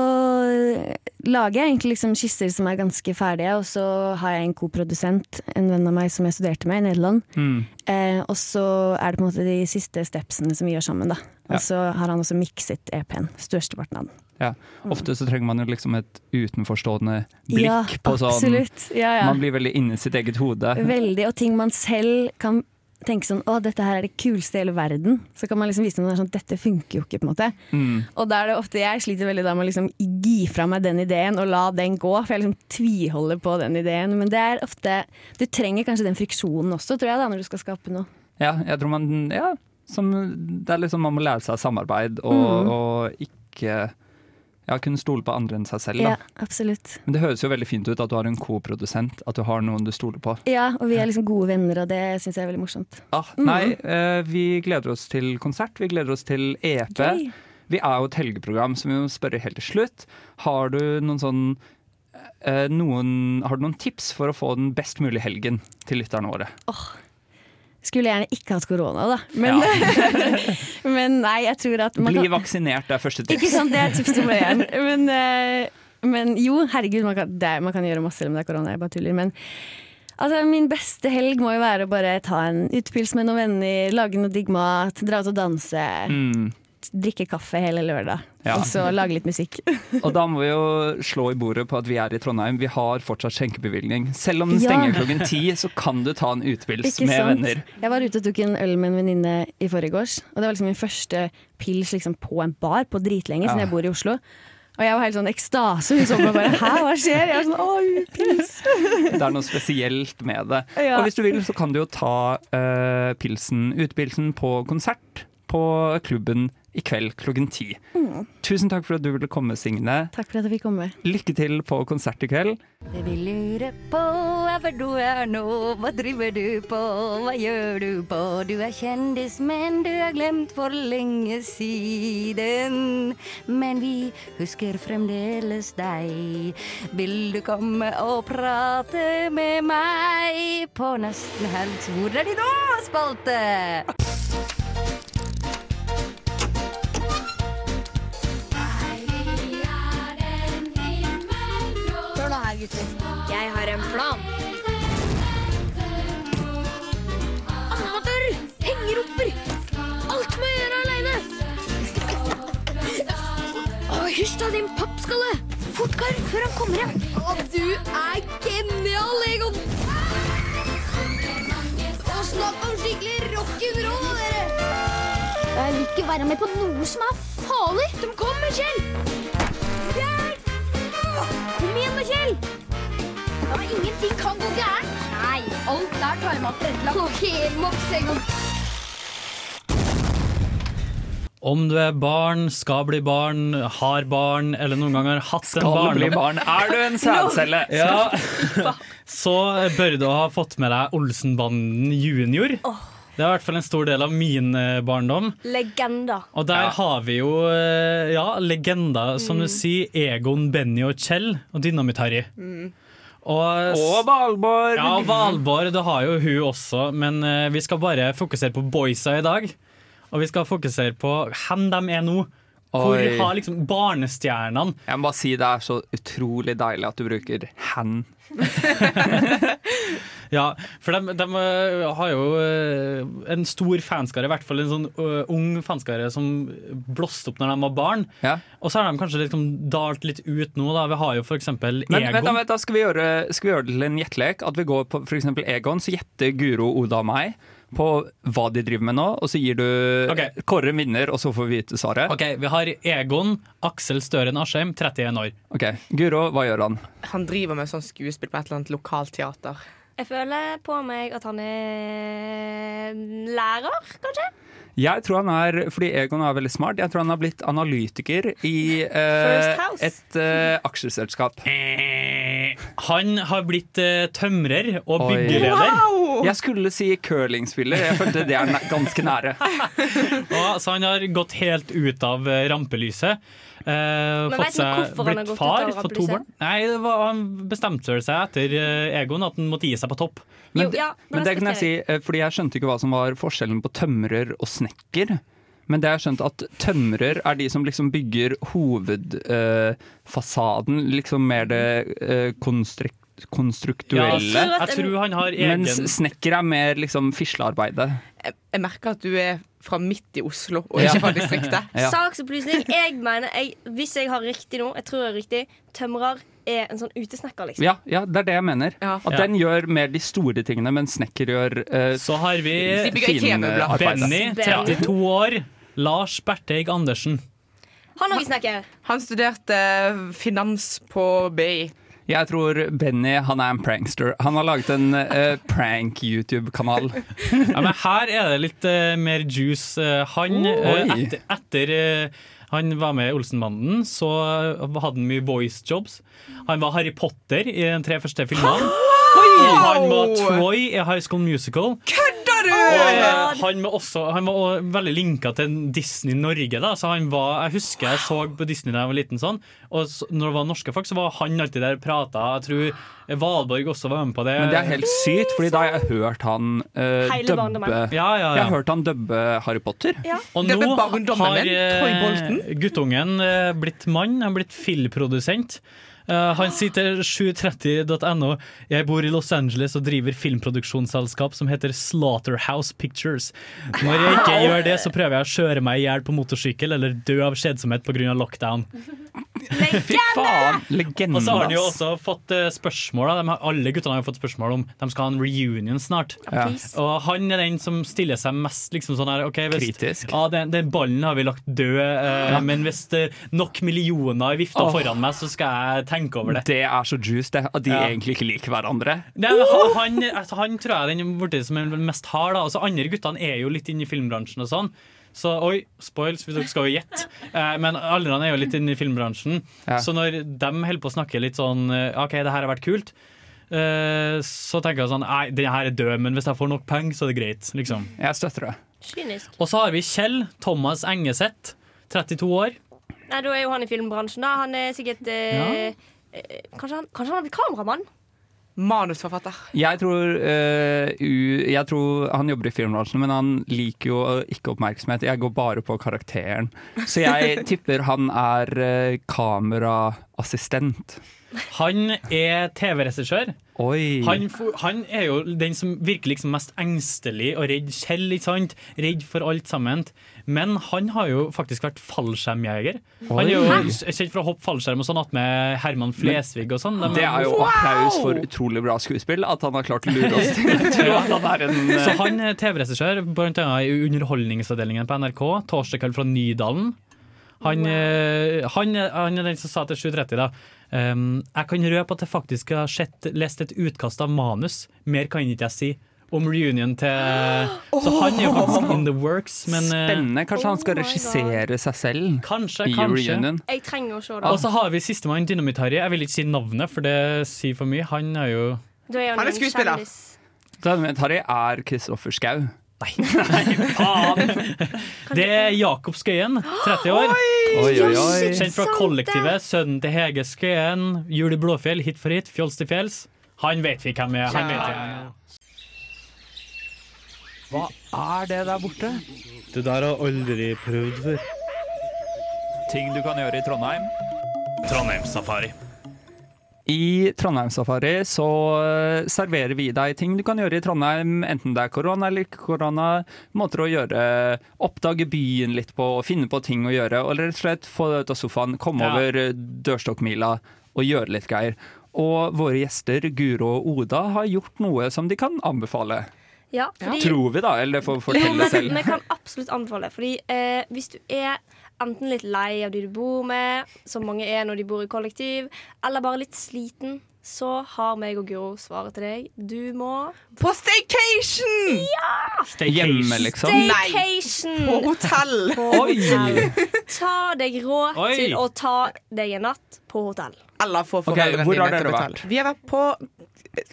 S19: lager jeg egentlig liksom skisser som er ganske ferdige, og så har jeg en koprodusent, en venn av meg som jeg studerte med i Nederland.
S8: Mm.
S19: Eh, og så er det på en måte de siste stepsene som vi gjør sammen, da.
S8: Ja.
S19: Og så har han også mikset EP-en, størsteparten av den.
S8: Ja. Ofte så trenger man jo liksom et utenforstående blikk
S19: Ja,
S8: på sånn
S19: absolutt. Ja, ja.
S8: Man blir veldig inni sitt eget hode.
S19: Veldig, og ting man selv kan tenke sånn Å, dette her er det kuleste i hele verden. Så kan man liksom vise noen sånn Dette funker jo ikke, på en måte.
S8: Mm.
S19: Og da er det ofte jeg sliter veldig da med å liksom gi fra meg den ideen og la den gå, for jeg liksom tviholder på den ideen. Men det er ofte Du trenger kanskje den friksjonen også, tror jeg, da, når du skal skape noe.
S8: Ja, jeg tror man Ja, som, det er liksom man må lære seg samarbeid og,
S19: Mm.
S8: og ikke Ja, kunne stole på andre enn seg selv, da.
S18: Ja, absolutt.
S8: Men det høres jo veldig fint ut at du har en koprodusent, at du har noen du stoler på.
S18: Ja, og vi er liksom gode venner, og det syns jeg er veldig morsomt.
S8: Ah,
S19: Mhm.
S8: nei, eh, vi gleder oss til konsert, vi gleder oss til EP.
S18: Gøy.
S8: Vi er jo et helgeprogram, så vi må spørre helt til slutt. Har du noen sånn eh, noen, Har du noen tips for å få den best mulige helgen til lytterne våre?
S19: Skulle gjerne ikke hatt korona, da. Men, men nei, jeg tror at man
S8: Bli
S19: kan-
S8: vaksinert, det er første tips.
S19: Ikke sant, det er tips nummer én. Men, eh, men jo, herregud, man kan, det, er- man kan gjøre masse selv om det er korona, jeg bare tuller. Men altså, min beste helg må jo være å bare ta en utepils med noen venner, lage noe digg mat, dra ut og danse.
S8: Mm.
S19: Drikke kaffe hele lørdag,
S8: Ja.
S19: og så lage litt musikk.
S8: Og da må vi jo slå i bordet på at vi er i Trondheim. Vi har fortsatt skjenkebevilgning. Selv om den
S19: Ja.
S8: stenger klokken ti, så kan du ta en utepils med venner.
S19: Jeg var ute og tok en øl med en venninne i forgårs. Og det var liksom min første pils liksom på en bar på dritlenge, siden
S8: Ja.
S19: jeg bor i Oslo. Og jeg var helt sånn ekstase. Hun så på meg bare 'hæ, hva skjer?' Jeg var sånn 'å, pils'.
S8: Det er noe spesielt med det.
S19: Ja.
S8: Og hvis du vil, så kan du jo ta eh, pilsen, utepilsen på konsert på klubben i kveld klokken ti.
S19: Mm.
S8: Tusen takk for at du ville komme, Signe.
S19: Takk for at jeg fikk komme.
S8: Lykke til på konsert i kveld.
S20: Det vi lurer på er hvor du er nå. Hva driver du på, hva gjør du på? Du er kjendis, men du er glemt for lenge siden. Men vi husker fremdeles deg. Vil du komme og prate med meg på nesten helg? Hvor er de nå, spalte?
S21: Hør nå her, gutter. Jeg har en plan. Amatører! Hengerumper! Alt må jeg gjøre aleine! Hysj da, din pappskalle! Fort, Karl, før han kommer hjem. Og du er genial, Egon! Og snakk om skikkelig rock'n'roll, dere! Jeg vil ikke være med på noe som er farlig. De kommer, Kjell! Der! Kom igjen da, Kjell! Ja, men ingenting kan gå gærent. Nei, alt er timet tilrettelagt. Ok, maks en gang.
S9: Om du er barn, skal bli barn, har barn, eller noen gang har hatt en
S8: Skal
S9: barn
S8: bli barn. Er du en sædcelle? No.
S9: Ja. Så bør du ha fått med deg Olsenbanden junior. Det er i hvert fall en stor del av min eh, barndom.
S11: Legender.
S9: Og der har vi jo eh, ja, legender, som du sier, Egon, Benny og Kjell og Dynamitt-Harry. Og,
S8: Og Valborg!
S9: Ja, og Valborg, det har jo hun også, men eh, vi skal bare fokusere på boysa i dag. Og vi skal fokusere på hvem de er nå. Hvor
S8: Oi.
S9: har liksom barnestjernene
S8: Jeg må bare si det er så utrolig deilig at du bruker hand.
S9: Ja, for de, de eh, har jo eh, en stor fanskare, i hvert fall en sånn eh, ung fanskare som blåste opp når de var barn. Og så har de kanskje liksom dalt litt ut nå, da. Vi har jo for eksempel
S8: Men
S9: Egon.
S8: vent da, vent da, skal vi, gjøre, skal vi gjøre det til en gjettelek? At vi går på f.eks. Egon, så gjetter Guro, Oda og meg på hva de driver med nå. Og så gir du Kåre vinner, og så får vi vite svaret.
S9: Ok, vi har Egon Aksel Støren Asheim, 31 år.
S8: Ok, Guro, hva gjør han?
S5: Han driver med sånn skuespill på et eller annet lokalteater.
S11: Jeg føler på meg at han er lærer, kanskje?
S8: Jeg tror han er, fordi Egon er veldig smart, jeg tror han har blitt analytiker i eh,
S11: First House.
S8: et eh, aksjeselskap.
S9: Eh, Han har blitt eh, tømrer og
S8: Oi.
S9: byggeleder.
S8: Wow! Jeg skulle si curlingspiller, jeg følte det er næ- ganske nære.
S9: Og, så han har gått helt ut av eh, rampelyset. Eh,
S11: Men
S9: fått
S11: vet du
S9: seg-
S11: hvorfor han har
S9: blitt
S11: gått ut
S9: far,
S11: av
S9: fått to
S11: rampelyset?
S9: barn. Nei, det var, Han bestemte seg etter eh, Egon at han måtte gi seg på topp.
S8: Men, det- men det kan jeg si, eh, fordi jeg skjønte ikke hva som var forskjellen på tømrer og snekker. Men det har jeg skjønt at tømrer er de som liksom bygger hovedfasaden, liksom mer det eh, konstruk-
S5: Ja,
S8: konstruktuelle.
S9: altså,
S5: jeg tror at Jeg tror han har egen-
S8: Mens snekker er mer liksom fislearbeidet.
S5: Jeg, jeg merker at du er fra midt i Oslo, og
S8: Ja.
S5: ikke fra distriktet.
S8: Ja.
S11: Saksopplysning. Jeg mener, jeg, hvis jeg har riktig nå, jeg tror jeg har riktig, tømrer er en sånn utesnekker, liksom.
S8: Ja, ja, det er det jeg mener. At
S11: Ja.
S8: den gjør mer de store tingene, mens snekker gjør uh,
S9: Så har vi
S11: De bygger IKEA-møbler.
S9: Benny,
S11: Benny.
S9: 32 år. Lars Berteig Andersen.
S11: Han òg snakker.
S5: Han studerte finans eh, på BI.
S8: Jeg tror Benny han er en prankster. Han har laget en eh, prank-YouTube-kanal.
S9: Ja, men her er det litt eh, mer juice. Eh, han, eh,
S8: Oi.
S9: etter, etter eh, han var med i Olsenbanden, så eh, hadde han mye voice jobs. Han var Harry Potter i de tre første filmene. Og han var Troy i High School Musical.
S5: Kødder du?!
S9: Og, eh, han var også han var også veldig linka til Disney Norge. Da. Så han var, jeg husker jeg så på Disney da jeg var liten, sånn, og så, når det var norske folk, så var han alltid der og prata. Jeg tror Valborg også var med på det.
S8: Men det er helt sykt, Fordi da har jeg hørt han eh,
S9: Hele
S8: dubbe
S9: barndommen. Ja, ja, ja.
S8: Jeg har hørt han dubbe Harry Potter.
S9: Og
S5: Det ble
S9: nå
S5: barndommen
S9: har
S5: min, Troy Bolton.
S9: eh, guttungen eh, blitt mann, han har blitt filmprodusent. Eh, han sitter 730.no. Jeg bor i Los Angeles og driver filmproduksjonsselskap som heter Slaughterhouse Pictures. Når jeg ikke gjør det, så prøver jeg å kjøre meg i hjel på motorsykkel eller dø av kjedsomhet pga. lockdown.
S8: Fy faen, legenden,
S9: Og så har de jo
S8: ass.
S9: også fått eh, spørsmål. da. De har, alle guttene har jo fått spørsmål om de skal ha en reunion snart.
S8: Ja. Please.
S9: Og han er den som stiller seg mest liksom sånn her ok, hvis,
S8: Kritisk.
S9: Ja, den, den ballen har vi lagt død, eh,
S8: Ja.
S9: men hvis det er nok millioner er vifta
S8: Åh.
S9: foran meg, så skal jeg tenke over det.
S8: Det er så juice, det. At de
S9: Ja.
S8: egentlig ikke liker hverandre.
S9: Nei, men han, han, altså, han tror jeg er den borti som er den mest hard. da. Altså, andre guttene er jo litt inne i filmbransjen og sånn. Så, oi, spoils, for dere skal jo gjette. Eh, men alle andre er jo litt inne i filmbransjen.
S8: Ja.
S9: Så når de holder på å snakke litt sånn eh, OK, det her har vært kult. eh, så tenker jeg sånn Nei, den her er død, men hvis jeg får nok penger, så er det greit. Liksom.
S8: Jeg støtter det.
S11: Kynisk.
S9: Og så har vi Kjell Thomas Engeseth, 32 år.
S11: Nei, da er jo han i filmbransjen, da. Han er sikkert eh, eh, kanskje, han, kanskje han har blitt kameramann?
S5: Manusforfatter.
S8: Jeg tror, eh, u, jeg tror han jobber i filmbransjen, men han liker jo ikke oppmerksomhet. Jeg går bare på karakteren. Så jeg tipper han er eh, kameraassistent.
S9: Han er TV-regissør.
S8: Oi.
S9: Han, fo- han er jo den som virker liksom mest engstelig og redd Kjell, ikke sant? Redd for alt sammen. Men han har jo faktisk vært fallskjermjeger. Han er jo
S8: Oi.
S9: kjent for å hoppe fallskjerm og sånn attmed Herman Flesvig og sånn. De-
S8: Det er jo applaus for utrolig bra skuespill, at han har klart å lure oss til å tro at han er en
S9: Så
S8: eh,
S9: han er TV-regissør, blant annet i Underholdningsavdelingen på NRK, torsdag kveld fra Nydalen. Han, eh, han, er- han er den som sa til 7.30 da ehm, Jeg kan røpe at jeg faktisk har sett, lest et utkast av manus, mer kan ikke jeg si, om reunion til Så han er jo faktisk in the works, men eh,
S8: Spennende. Kanskje han skal regissere seg selv
S9: Kanskje,
S8: i
S9: kanskje.
S8: reunion.
S11: Jeg trenger å se det.
S9: Og
S8: Altså-
S9: så har vi sistemann, Dynamitt-Harry. Jeg vil ikke si navnet, for det sier for mye. Han er jo
S11: Da er
S9: Han er
S11: en
S9: skuespiller.
S11: kjendis.
S8: Harry er Kristoffer Schau.
S9: Det er Jakob Skøyen, 30 år.
S8: Oi, oi, oi.
S9: Kjent fra kollektivet. Sønnen til Hege Skøyen. Jul i Blåfjell, hit for hit, fjols til fjells. Han vet vi hvem er. Han vet vi. hvem er.
S8: Hva er det der borte?
S15: Det der har jeg aldri prøvd før.
S8: Ting du kan gjøre i Trondheim.
S9: Trondheimssafari.
S8: I Trondheimssafari så eh, serverer vi deg ting du kan gjøre i Trondheim, enten det er korona eller ikke korona. Måter å gjøre Oppdage byen litt på, og finne på ting å gjøre. Og rett og slett få deg ut av sofaen, komme
S9: Ja.
S8: over eh, dørstokkmila og gjøre litt greier. Og våre gjester Guro og Oda har gjort noe som de kan anbefale.
S11: Ja, fordi,
S8: Tror vi, da, eller får
S11: Jo,
S8: fortelle
S11: men
S8: selv.
S11: vi kan absolutt anbefale. Fordi eh, hvis du er enten litt lei av de du bor med, som mange er når de bor i kollektiv, eller bare litt sliten, så har meg og Guro svaret til deg. Du må
S5: På staycation!
S11: Ja!
S8: Hjemme, liksom?
S11: Staycation!
S5: På hotell.
S11: På
S5: Oi!
S11: hotell. Ta deg råd
S5: Oi.
S11: til å ta deg en natt på hotell.
S5: Eller få
S8: Ok,
S5: foreldrene
S8: hvor har
S5: dine til
S8: dere
S5: å betale.
S8: vært?
S5: Vi har vært på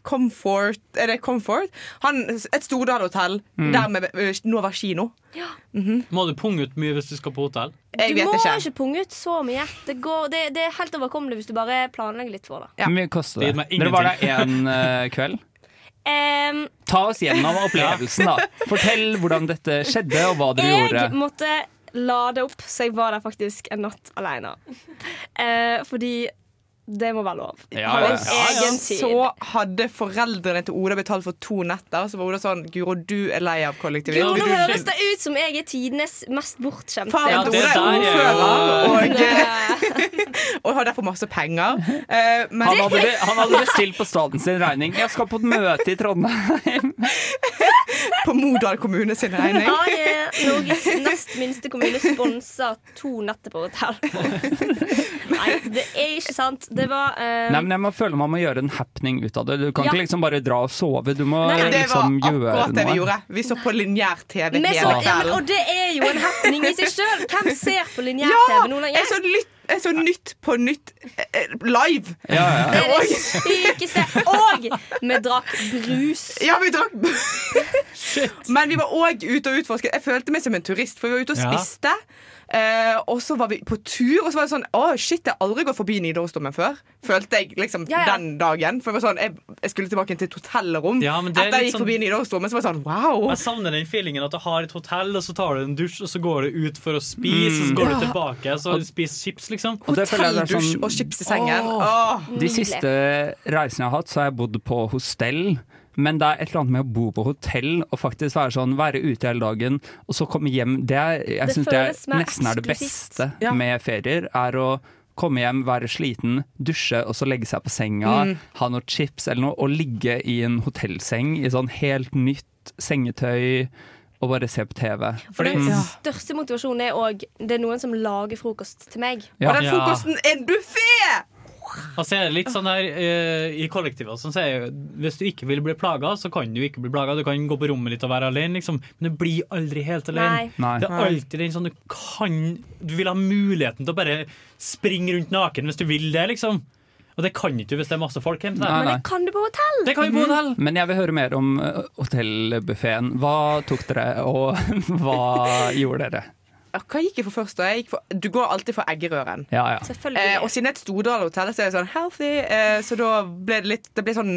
S5: Comfort Er det Comfort? Han, et Stordal-hotell
S9: Mm.
S5: der med ø, Nova kino.
S9: Må du punge ut mye hvis du skal på hotell?
S11: du
S5: Jeg vet
S11: må
S5: ikke.
S11: punge ut så mye. Det, går, det, det er helt overkommelig hvis du bare planlegger litt for det.
S8: Hvor mye koster
S9: Det gir
S8: det?
S9: meg
S8: Dere var der
S9: ingenting.
S8: én kveld?
S11: Em,
S8: Ta oss gjennom opplevelsen, da. Fortell hvordan dette skjedde, og hva
S5: Eh,
S8: dere
S11: jeg
S8: gjorde.
S11: måtte lade opp, så jeg var der faktisk en natt alene. Eh, fordi det må være lov.
S8: Ja, ja, ja.
S11: Og egen tid.
S5: Så hadde foreldrene til Oda betalt for to netter. Så var Oda sånn Guro, du er lei av kollektivet.
S11: Jo,
S5: Du-
S11: nå
S5: du-
S11: høres det ut som jeg er tidenes mest bortskjemte.
S5: Faen,
S9: Ja,
S5: Oda
S9: det
S5: er
S9: der er jo-
S5: ordfører og, og har derfor masse penger. Eh, men-
S8: Han hadde, han hadde bestilt på staten sin regning. Jeg skal på et møte i Trondheim.
S5: på Modal kommune sin regning.
S11: Ja, ja. eh, Norges nest minste kommune sponser to netter på hotell. Nei, det er ikke sant. Det var eh,
S8: Nei, men jeg må føle man må gjøre en happening ut av det. Du kan
S11: Ja.
S8: ikke liksom bare dra og sove. Du må
S5: Nei, det var
S8: liksom gjøre noe.
S5: akkurat det vi gjorde. Vi så på lineær-TV
S11: vi
S5: hele
S11: så, ja, men,
S5: kvelden.
S11: sånn Og det er jo en happening i seg sjøl. Hvem ser på
S5: Ja!
S11: lineær-TV nå lenger?
S5: Jeg så, lytt, jeg så Nytt på Nytt eh, eh, live.
S8: Ja,
S11: Det
S8: ja.
S11: er det sykeste. Og vi drakk brus.
S5: Ja, vi drakk Men vi var òg ute og utforsket. Jeg følte meg som en turist, for vi var ute og
S1: Ja.
S5: spiste. eh, og så var vi på tur, og så var det sånn Å, shit, jeg har aldri gått forbi Nidarosdomen før. Følte jeg liksom
S1: Ja, ja.
S5: den dagen. For det var sånn, jeg, jeg skulle tilbake til et hotellrom.
S9: Ja, men det er
S5: Etter jeg
S9: litt
S5: gikk
S9: sånn-
S5: forbi Nidarosdomen, så var det sånn wow.
S8: Altså,
S9: Jeg savner den feelingen at du har et hotell, og så tar du en dusj, og så går du ut for å spise, og så går
S8: Ja.
S9: du tilbake og så spiser chips, liksom.
S8: Og det føler jeg det er sånn- Hotelldusj og
S5: chips i sengen.
S11: Mm,
S5: Åh.
S8: De siste reisene jeg har hatt, så har jeg bodd på hostell. Men det er et eller annet med å bo på hotell og faktisk være sånn, være ute hele dagen og så komme hjem. Det, er, jeg
S11: Det
S8: synes det er,
S11: føles mer
S8: nesten er det
S11: eksklusivt.
S8: beste med ferier. er å Komme hjem, være sliten, dusje og så legge seg på senga.
S5: Mm.
S8: Ha noen chips eller noe, og ligge i en hotellseng i sånn helt nytt sengetøy og bare se på TV.
S11: For den
S8: Mm.
S11: største motivasjonen er òg det er noen som lager frokost til meg.
S8: Ja. Og den frokosten
S5: er en buffé!
S9: Og så er det litt sånn der eh, i kollektivet og sånn, så er jo, Hvis du ikke vil bli plaga, så kan du ikke bli plaga. Du kan gå på rommet litt og være alene, liksom. men du blir aldri helt alene.
S8: Nei. Nei.
S9: Det er
S8: Nei.
S9: alltid den sånn du kan Du vil ha muligheten til å bare springe rundt naken hvis du vil det, liksom. Og det kan ikke du hvis det er masse folk hjemme.
S8: Nei, nei.
S11: Men det kan du på hotell!
S9: Det kan vi på hotell.
S8: Men jeg vil høre mer om eh, hotellbuffeen. Hva tok dere, og hva gjorde dere?
S5: Ja, Hva gikk jeg for først? da? Jeg gikk for, du går alltid for eggerøren.
S8: Ja, ja.
S5: Eh, og siden det er et Stordal-hotell, så er det sånn healthy. Eh, så da ble det litt Det ble sånn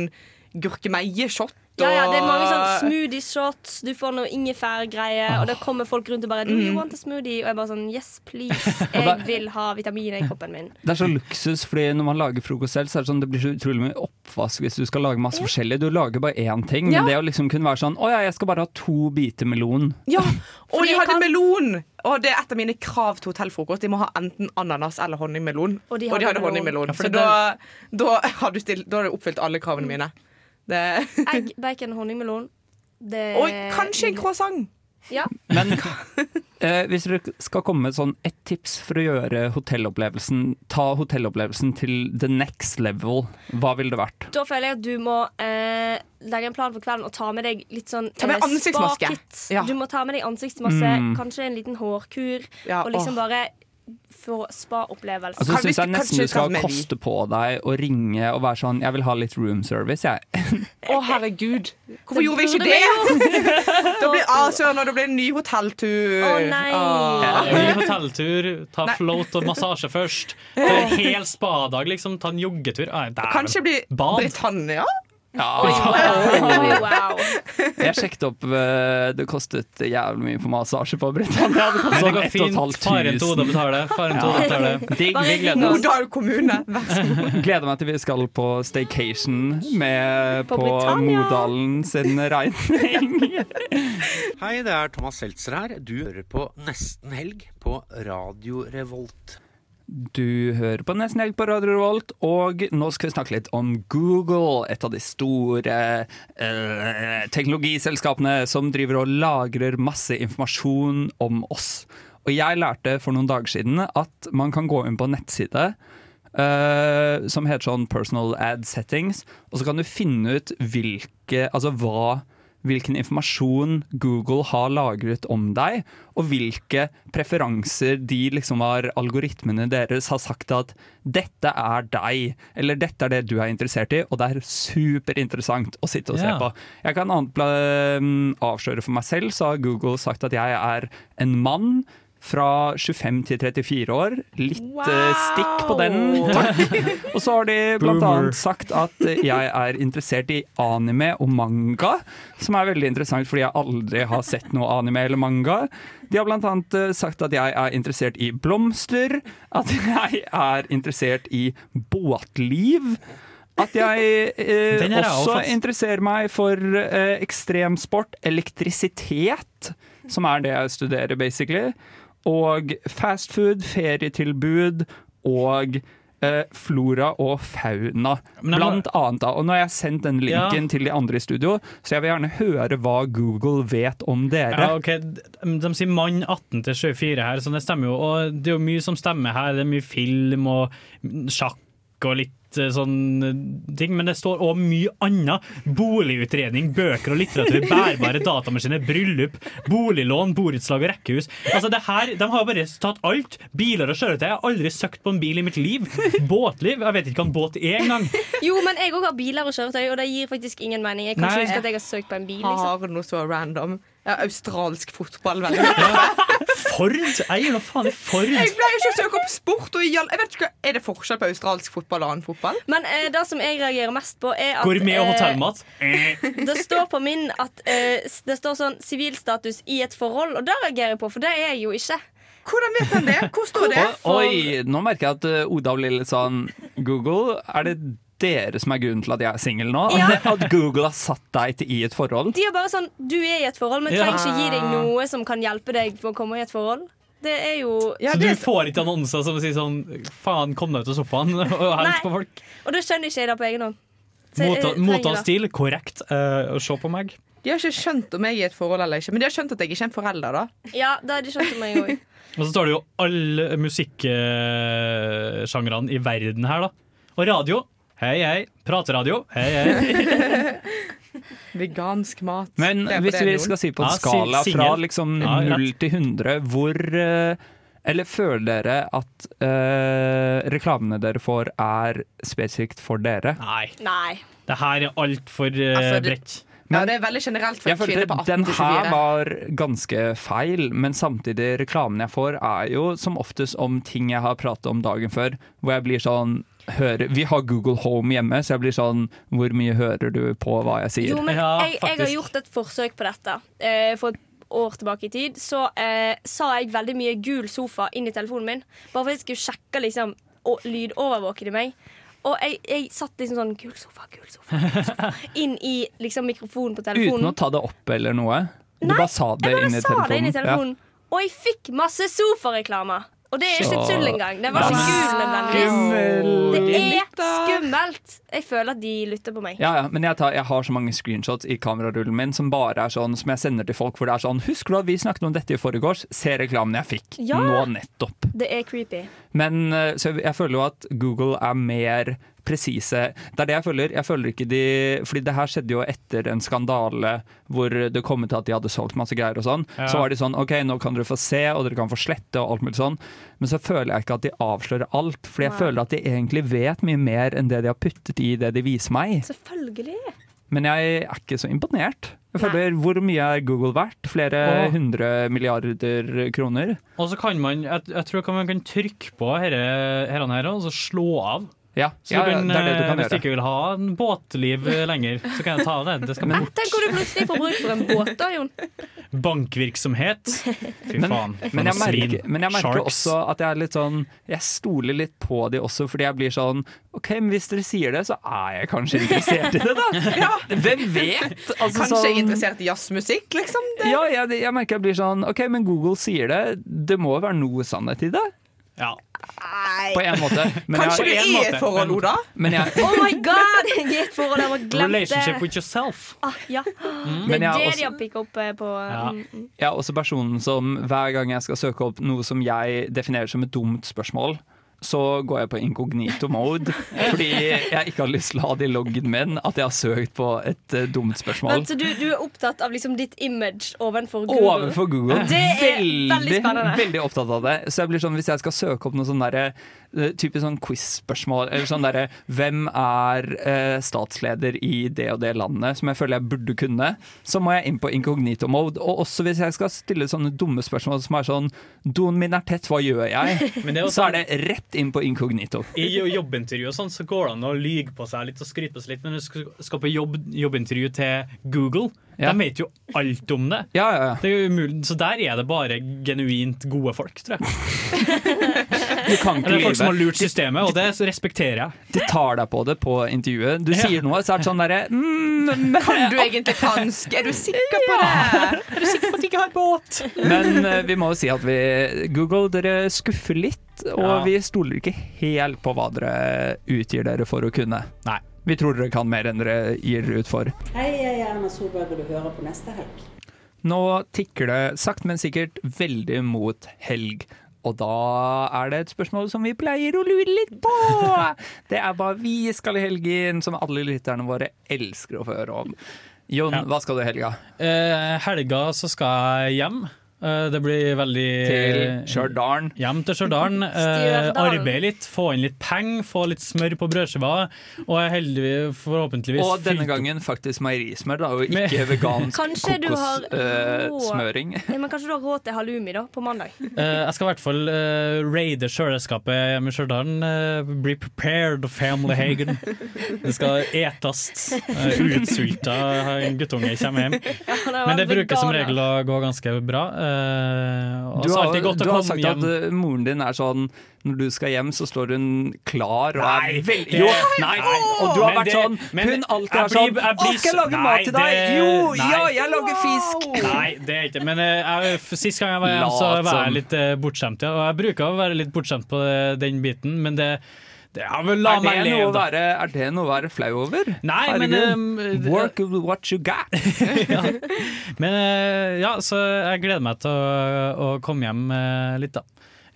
S5: gurkemeieshot.
S11: Ja, ja, det er mange sånn
S5: og-
S11: sånne smoothie shots, du får noe ingefærgreier, og da kommer folk rundt og bare Do
S5: Mm.
S11: you want a smoothie? Og jeg bare sånn Yes, please. Jeg vil ha vitaminer i kroppen min.
S8: Det er så luksus, fordi når man lager frokost selv, så er det sånn det blir så utrolig mye oppvask hvis du skal lage masse forskjellig. Du lager bare én ting,
S5: Ja.
S8: men det å liksom kunne være sånn Å ja, jeg skal bare ha to biter melon.
S5: Ja, og de hadde melon! Og det er et av mine krav til hotellfrokost. De må ha enten ananas eller honningmelon.
S11: Og de
S5: og de
S11: hadde
S5: hadde
S11: melon.
S5: honningmelon.
S11: Ja, for det
S5: så da, da, har du stilt, da har du oppfylt alle kravene mine. Det.
S11: Egg, bacon, honningmelon. Det
S5: Og kanskje en croissant.
S11: Ja.
S8: Men eh, hvis dere skal komme med sånn ett tips for å gjøre hotellopplevelsen Ta hotellopplevelsen til the next level, hva ville det vært?
S11: Da føler jeg at du må eh, legge en plan for kvelden og ta med deg litt sånn
S5: Ta med
S11: eh,
S5: ansiktsmaske.
S11: spa-kit.
S5: Ja.
S11: Du må ta med deg ansiktsmaske,
S8: Mm.
S11: kanskje en liten hårkur,
S5: Ja,
S11: og liksom
S5: åh.
S11: bare få spa-opplevelse.
S8: Altså, synes jeg nesten du skal koste på deg og ringe og være sånn Jeg vil ha litt room service, jeg.
S5: Å, herregud. Hvorfor
S11: eh, Det
S5: gjorde vi ikke
S11: burde vi
S5: det?
S11: gjort.
S5: da blir ah, søren, og det blir en ny hotelltur.
S11: Å, nei.
S5: Ah.
S9: Ny hotelltur, ta
S5: Nei.
S9: float og massasje først. Ta en hel spadag, liksom. Ta en joggetur. Ah, dæven.
S5: Kanskje bli
S9: Bad.
S5: Britannia?
S11: Wow. wow.
S8: Jeg sjekket opp, eh, det kostet jævlig mye for massasje på Britannia. Det
S9: Men det
S8: kostet
S9: går
S8: ett og et
S9: fint.
S8: halvt
S9: Faren til Oda
S8: tusen.
S9: betaler. Faren til
S8: Ja.
S9: Oda betaler.
S8: Digg, vi gleder oss.
S5: Modal kommune, vær så god.
S8: Gleder meg til vi skal på staycation med
S5: På
S8: på,
S5: Britannia.
S8: Modalen sin regning.
S22: Hei, det er Thomas Seltzer her. Du hører på Nesten Helg på Radio Revolt.
S8: Du hører på Nesten Helg på Radio Revolt, og nå skal vi snakke litt om Google, et av de store eh, teknologiselskapene som driver og lagrer masse informasjon om oss. Og jeg lærte for noen dager siden at man kan gå inn på en nettside eh, som heter sånn Personal Ad Settings, og så kan du finne ut hvilke, altså hva hvilken informasjon Google har lagret om deg, og hvilke preferanser de liksom har, algoritmene deres har sagt at dette er deg, eller dette er det du er interessert i, og det er superinteressant å sitte og se
S9: Ja.
S8: på. Jeg kan anpla- avsløre for meg selv, så har Google sagt at jeg er en mann fra 25 til 34 år. Litt eh, stikk på den. Takk. og så har de blant
S9: Boomer.
S8: annet sagt at eh, jeg er interessert i anime og manga, som er veldig interessant fordi jeg aldri har sett noe anime eller manga. De har blant annet eh, sagt at jeg er interessert i blomster, at jeg er interessert i båtliv. At jeg eh,
S9: Den her er
S8: også
S9: avfast.
S8: interesserer meg for eh, ekstremsport, elektrisitet, som er det jeg studerer, basically, og fastfood, ferietilbud og eh, flora og fauna.
S9: Men jeg må-
S8: Blant annet da. Og nå har jeg sendt den linken
S9: Ja.
S8: til de andre i studio, så jeg vil gjerne høre hva Google vet om dere.
S9: Ja, ok. De, de sier mann 18 til 24 her, så det stemmer jo. Og det er jo mye som stemmer her. Det er mye film og sjakk og litt eh, sånn eh, ting, Men det står òg mye annet. Boligutredning, bøker og litteratur, bærbare datamaskiner, bryllup, boliglån, borettslag og rekkehus. Altså det her, De har jo bare tatt alt. Biler og kjøretøy. Jeg har aldri søkt på en bil i mitt liv. Båtliv. Jeg vet ikke hva en båt er engang.
S11: Jo, men jeg òg har biler og kjøretøy, og det gir faktisk ingen mening. Jeg kan
S5: Nei.
S11: ikke huske at jeg har søkt på en bil. Liksom.
S5: Har noe så random. Ja, australsk fotball, vel.
S9: Ford? Jeg gir da faen i Ford.
S5: Jeg pleier ikke å søke opp sport. Og i all- jeg vet ikke, hva- er det forskjell på australsk fotball og annen fotball?
S11: Men eh, det som jeg reagerer mest på, er at
S9: Gourmet og
S11: eh,
S9: hotellmat.
S11: Det står på min at eh, s- det står sånn sivilstatus i et forhold, og det reagerer jeg på, for det er jeg jo ikke.
S5: Hvordan vet han det? Hvor står
S8: Oi, oi, nå merker jeg at eh, Oda blir litt sånn Google, er det dere som er grunnen til at jeg er singel nå? At Google har satt deg til i et forhold?
S11: De er bare sånn Du er i et forhold, men
S8: Ja. Ah.
S11: trenger ikke gi deg noe som kan hjelpe deg på å komme i et forhold. Det er jo
S9: så du får ikke annonser som sier sånn Faen, kom deg ut av sofaen og hils på folk.
S11: Og da skjønner ikke jeg det på egen hånd. Så jeg,
S9: Motta-
S11: eh, trenger det.
S9: Motavsstil, korrekt. Eh, se på meg.
S5: De har ikke skjønt om jeg er i et forhold eller ikke, men de har skjønt at jeg ikke er en forelder. da
S11: Ja, det har de skjønt om meg òg.
S9: Og så står det jo alle musikksjangrene i verden her, da. Og radio. Hei, hei. Prateradio. Hei, hei.
S5: Vegansk mat.
S8: Men
S5: Det er på
S8: hvis
S5: det
S8: vi
S5: noen.
S8: skal si på
S9: Ja,
S8: en
S9: si-
S8: skala fra
S9: singel.
S8: liksom
S9: Ja, rett.
S8: 0 til 100, hvor eh, Eller føler dere at eh, reklamene dere får, er spesifikt for dere?
S9: Nei.
S11: Nei.
S9: Det her er altfor uh,
S5: Altså, det-
S9: bredt.
S5: Ja, det er veldig generelt for
S8: Jeg
S5: en kvinne på
S8: følte
S5: 18
S8: Den
S5: til
S8: her
S5: 24.
S8: var ganske feil, men samtidig reklamen jeg får er jo som oftest om ting jeg har pratet om dagen før, hvor jeg blir sånn hører, Vi har Google Home hjemme, så jeg blir sånn Hvor mye hører du på hva jeg sier?
S11: Jo, men jeg, jeg har gjort et forsøk på dette. Eh, for et år tilbake i tid så eh, sa jeg veldig mye gul sofa inn i telefonen min. Bare for at jeg skulle sjekke liksom, og lydovervåkede meg. Og jeg, jeg satt liksom sånn Gul sofa, gul sofa. gul sofa, Inn i liksom, mikrofonen på telefonen.
S8: Uten å ta det opp eller noe? Du
S11: Nei,
S8: bare sa det
S11: jeg bare
S8: inn i
S11: sa det inn i
S8: telefonen? Ja.
S11: telefonen. Og jeg fikk masse sofareklamer. Og det er ikke
S8: Så-
S11: tull engang. Det var ikke gul
S8: Skummelt.
S11: nødvendigvis. Det er skummelt. Jeg føler at de lytter på meg.
S8: Ja, ja, men jeg, tar, jeg har så mange screenshots i kamerarullen min som bare er sånn, som jeg sender til folk hvor det er sånn 'Husker du at vi snakket om dette i forgårs? Se reklamen jeg fikk
S11: Ja.
S8: nå nettopp'.
S11: Det er creepy.
S8: Men eh, så jeg føler jo at Google er mer presise. Det er det jeg føler. Jeg føler ikke de Fordi det her skjedde jo etter en skandale hvor det kom ut at de hadde solgt masse greier og sånn.
S9: Ja.
S8: Så var de sånn OK, nå kan dere få se, og dere kan få slette og alt mulig sånn. Men så føler jeg ikke at de avslører alt. Fordi jeg
S11: Nei.
S8: føler at de egentlig vet mye mer enn det de har puttet i det de viser meg.
S11: Følgelig.
S8: Men jeg er ikke så imponert. Jeg føler Hvor mye er Google verdt? Flere
S9: Åh.
S8: hundre milliarder kroner?
S9: Og så kan man Jeg, jeg tror kan man kan trykke på herrene her og så slå av.
S8: Ja,
S9: Så
S8: ja,
S9: du
S8: ja,
S9: kan,
S8: det er det du
S9: eh,
S8: kan
S9: hvis du
S8: gjøre.
S9: ikke vil ha en båtliv eh, lenger, så kan jeg ta det. Det skal bort.
S11: Tenk om du plutselig får bruk for en båt, da, Jon.
S9: Bankvirksomhet. Fy faen.
S8: men jeg
S9: For noe svin.
S8: merker, men jeg merker
S9: Sharks.
S8: også at jeg er litt sånn Jeg stoler litt på de også, fordi jeg blir sånn OK, men hvis dere sier det, så er jeg kanskje interessert i det, da. Hvem vet? Altså,
S5: Kanskje jeg er
S8: sånn-
S5: interessert i jazzmusikk, liksom. Det.
S8: Ja, jeg, jeg merker jeg blir sånn OK, men Google sier det. Det må jo være noe sannhet i det?
S9: Ja.
S8: På en måte.
S5: Kanskje du er i et forhold, Oda?
S8: Men jeg,
S11: Oh my god! Jeg er i et forhold, jeg må glemme
S8: Relationship with Mm.
S9: yourself.
S11: Ah, ja. Det
S8: Men
S11: er
S8: jeg
S11: det
S8: har
S11: de
S8: også-
S11: har pikket opp eh, på
S8: Ja.
S11: mm, mm.
S8: jeg er også personen som hver gang jeg skal søke opp noe som jeg definerer som et dumt spørsmål, så går jeg på incognito mode fordi jeg ikke har lyst til å ha det i loggen min at jeg har søkt på et eh, dumt spørsmål.
S11: Men så du, du er opptatt av liksom ditt image ovenfor Google?
S8: Overfor Google.
S11: Det er veldig, spennende.
S8: veldig opptatt av det. Så jeg blir sånn, Hvis jeg skal søke opp noe sånn derre, eh, typisk sånn quiz-spørsmål, eller sånn derre Hvem er eh, statsleder i det og det landet, som jeg føler jeg burde kunne, så må jeg inn på incognito mode. Og også hvis jeg skal stille sånne dumme spørsmål som er sånn Doen min er tett, hva gjør jeg?
S9: Men det er jo
S8: så
S9: sånn-
S8: er det rett inn på incognito.
S9: I jo- jobbintervju og sånn, så går det an å lyge på seg litt og skryte på seg litt, men når du skal skal på jobb, jobbintervju til Google,
S8: Ja.
S9: de vet jo alt om det. Det er jo umulig. Så der er det bare genuint gode folk, tror jeg.
S8: Du kan ikke
S9: Eller folk som har
S8: lyve.
S9: lurt systemet, og det respekterer jeg.
S8: De tar deg på det på intervjuet. Du sier noe, så er det sånn derre mm,
S5: Kan du egentlig fransk? Er du sikker på det?
S9: Er du sikker på at du ikke har båt?
S8: Men eh, vi må jo si at vi Google, dere skuffer litt. litt, og
S9: Ja.
S8: vi stoler ikke helt på hva dere utgir dere for å kunne.
S9: Nei.
S8: Vi tror dere kan mer enn dere gir dere ut for.
S1: Hei, jeg er Erna Solberg, og du hører på neste helg.
S8: Nå tikker det sakte, men sikkert veldig mot helg. Og da er det et spørsmål som vi pleier å lure litt på! Det er hva vi skal i helgen, som alle lytterne våre elsker å få høre om. Jon, hva skal du i helga?
S9: Eh, helga så skal jeg hjem. Eh, det blir veldig
S8: Til Stjørdal.
S9: Hjem til Stjørdal. Eh,
S8: Stjørdal.
S9: arbeide litt, få inn litt penger, få litt smør på brødskiva. Og jeg heldigvis, forhåpentligvis
S8: Og denne
S9: fylt opp-
S8: gangen faktisk meierismør, da, og ikke vegansk
S11: Kanskje du har råd-
S8: kokossmøring.
S11: Ja, men kanskje du har råd til halloumi da, på mandag.
S9: Eh, jeg skal i hvert fall eh, raide kjøleskapet hjemme i Stjørdal. Eh, be prepared, family Hagen. Det skal etast. Uh, utsulta guttunge kommer hjem. Men det bruker som regel å gå ganske bra. eh, og
S8: Du
S9: så er det
S8: har,
S9: alltid godt å
S8: du har
S9: komme
S8: sagt
S9: hjem.
S8: at eh, moren din er sånn Når du skal hjem, så står hun klar og
S9: Nei,
S8: er vel,
S9: det-
S8: jo,
S9: nei.
S8: Og du har
S9: Men
S8: vært
S9: det-
S8: sånn
S9: men
S8: Hun alltid
S9: jeg
S8: er sånn
S9: blir-
S8: Å,
S9: jeg
S8: skal
S9: blir
S8: jeg
S9: så-
S8: lage
S9: nei,
S8: mat til deg?
S9: det-
S8: Jo,
S9: nei.
S8: ja, jeg lager fisk!
S9: Nei, det er ikke Men eh, jeg, f- sist gang jeg var hjemme, så
S8: Lat
S9: var
S8: som.
S9: jeg litt eh, bortskjemt. Ja. Og jeg bruker å være litt bortskjemt på eh, den biten, men det, det jeg vil la
S8: Er det,
S9: meg
S8: noe
S9: leve,
S8: å
S9: da.
S8: være, er det noe å være flau over?
S9: Nei, men,
S8: Herregud.
S9: um,
S8: Work with what you got.
S9: Men eh, ja, så jeg gleder meg til å, å komme hjem eh, litt, da.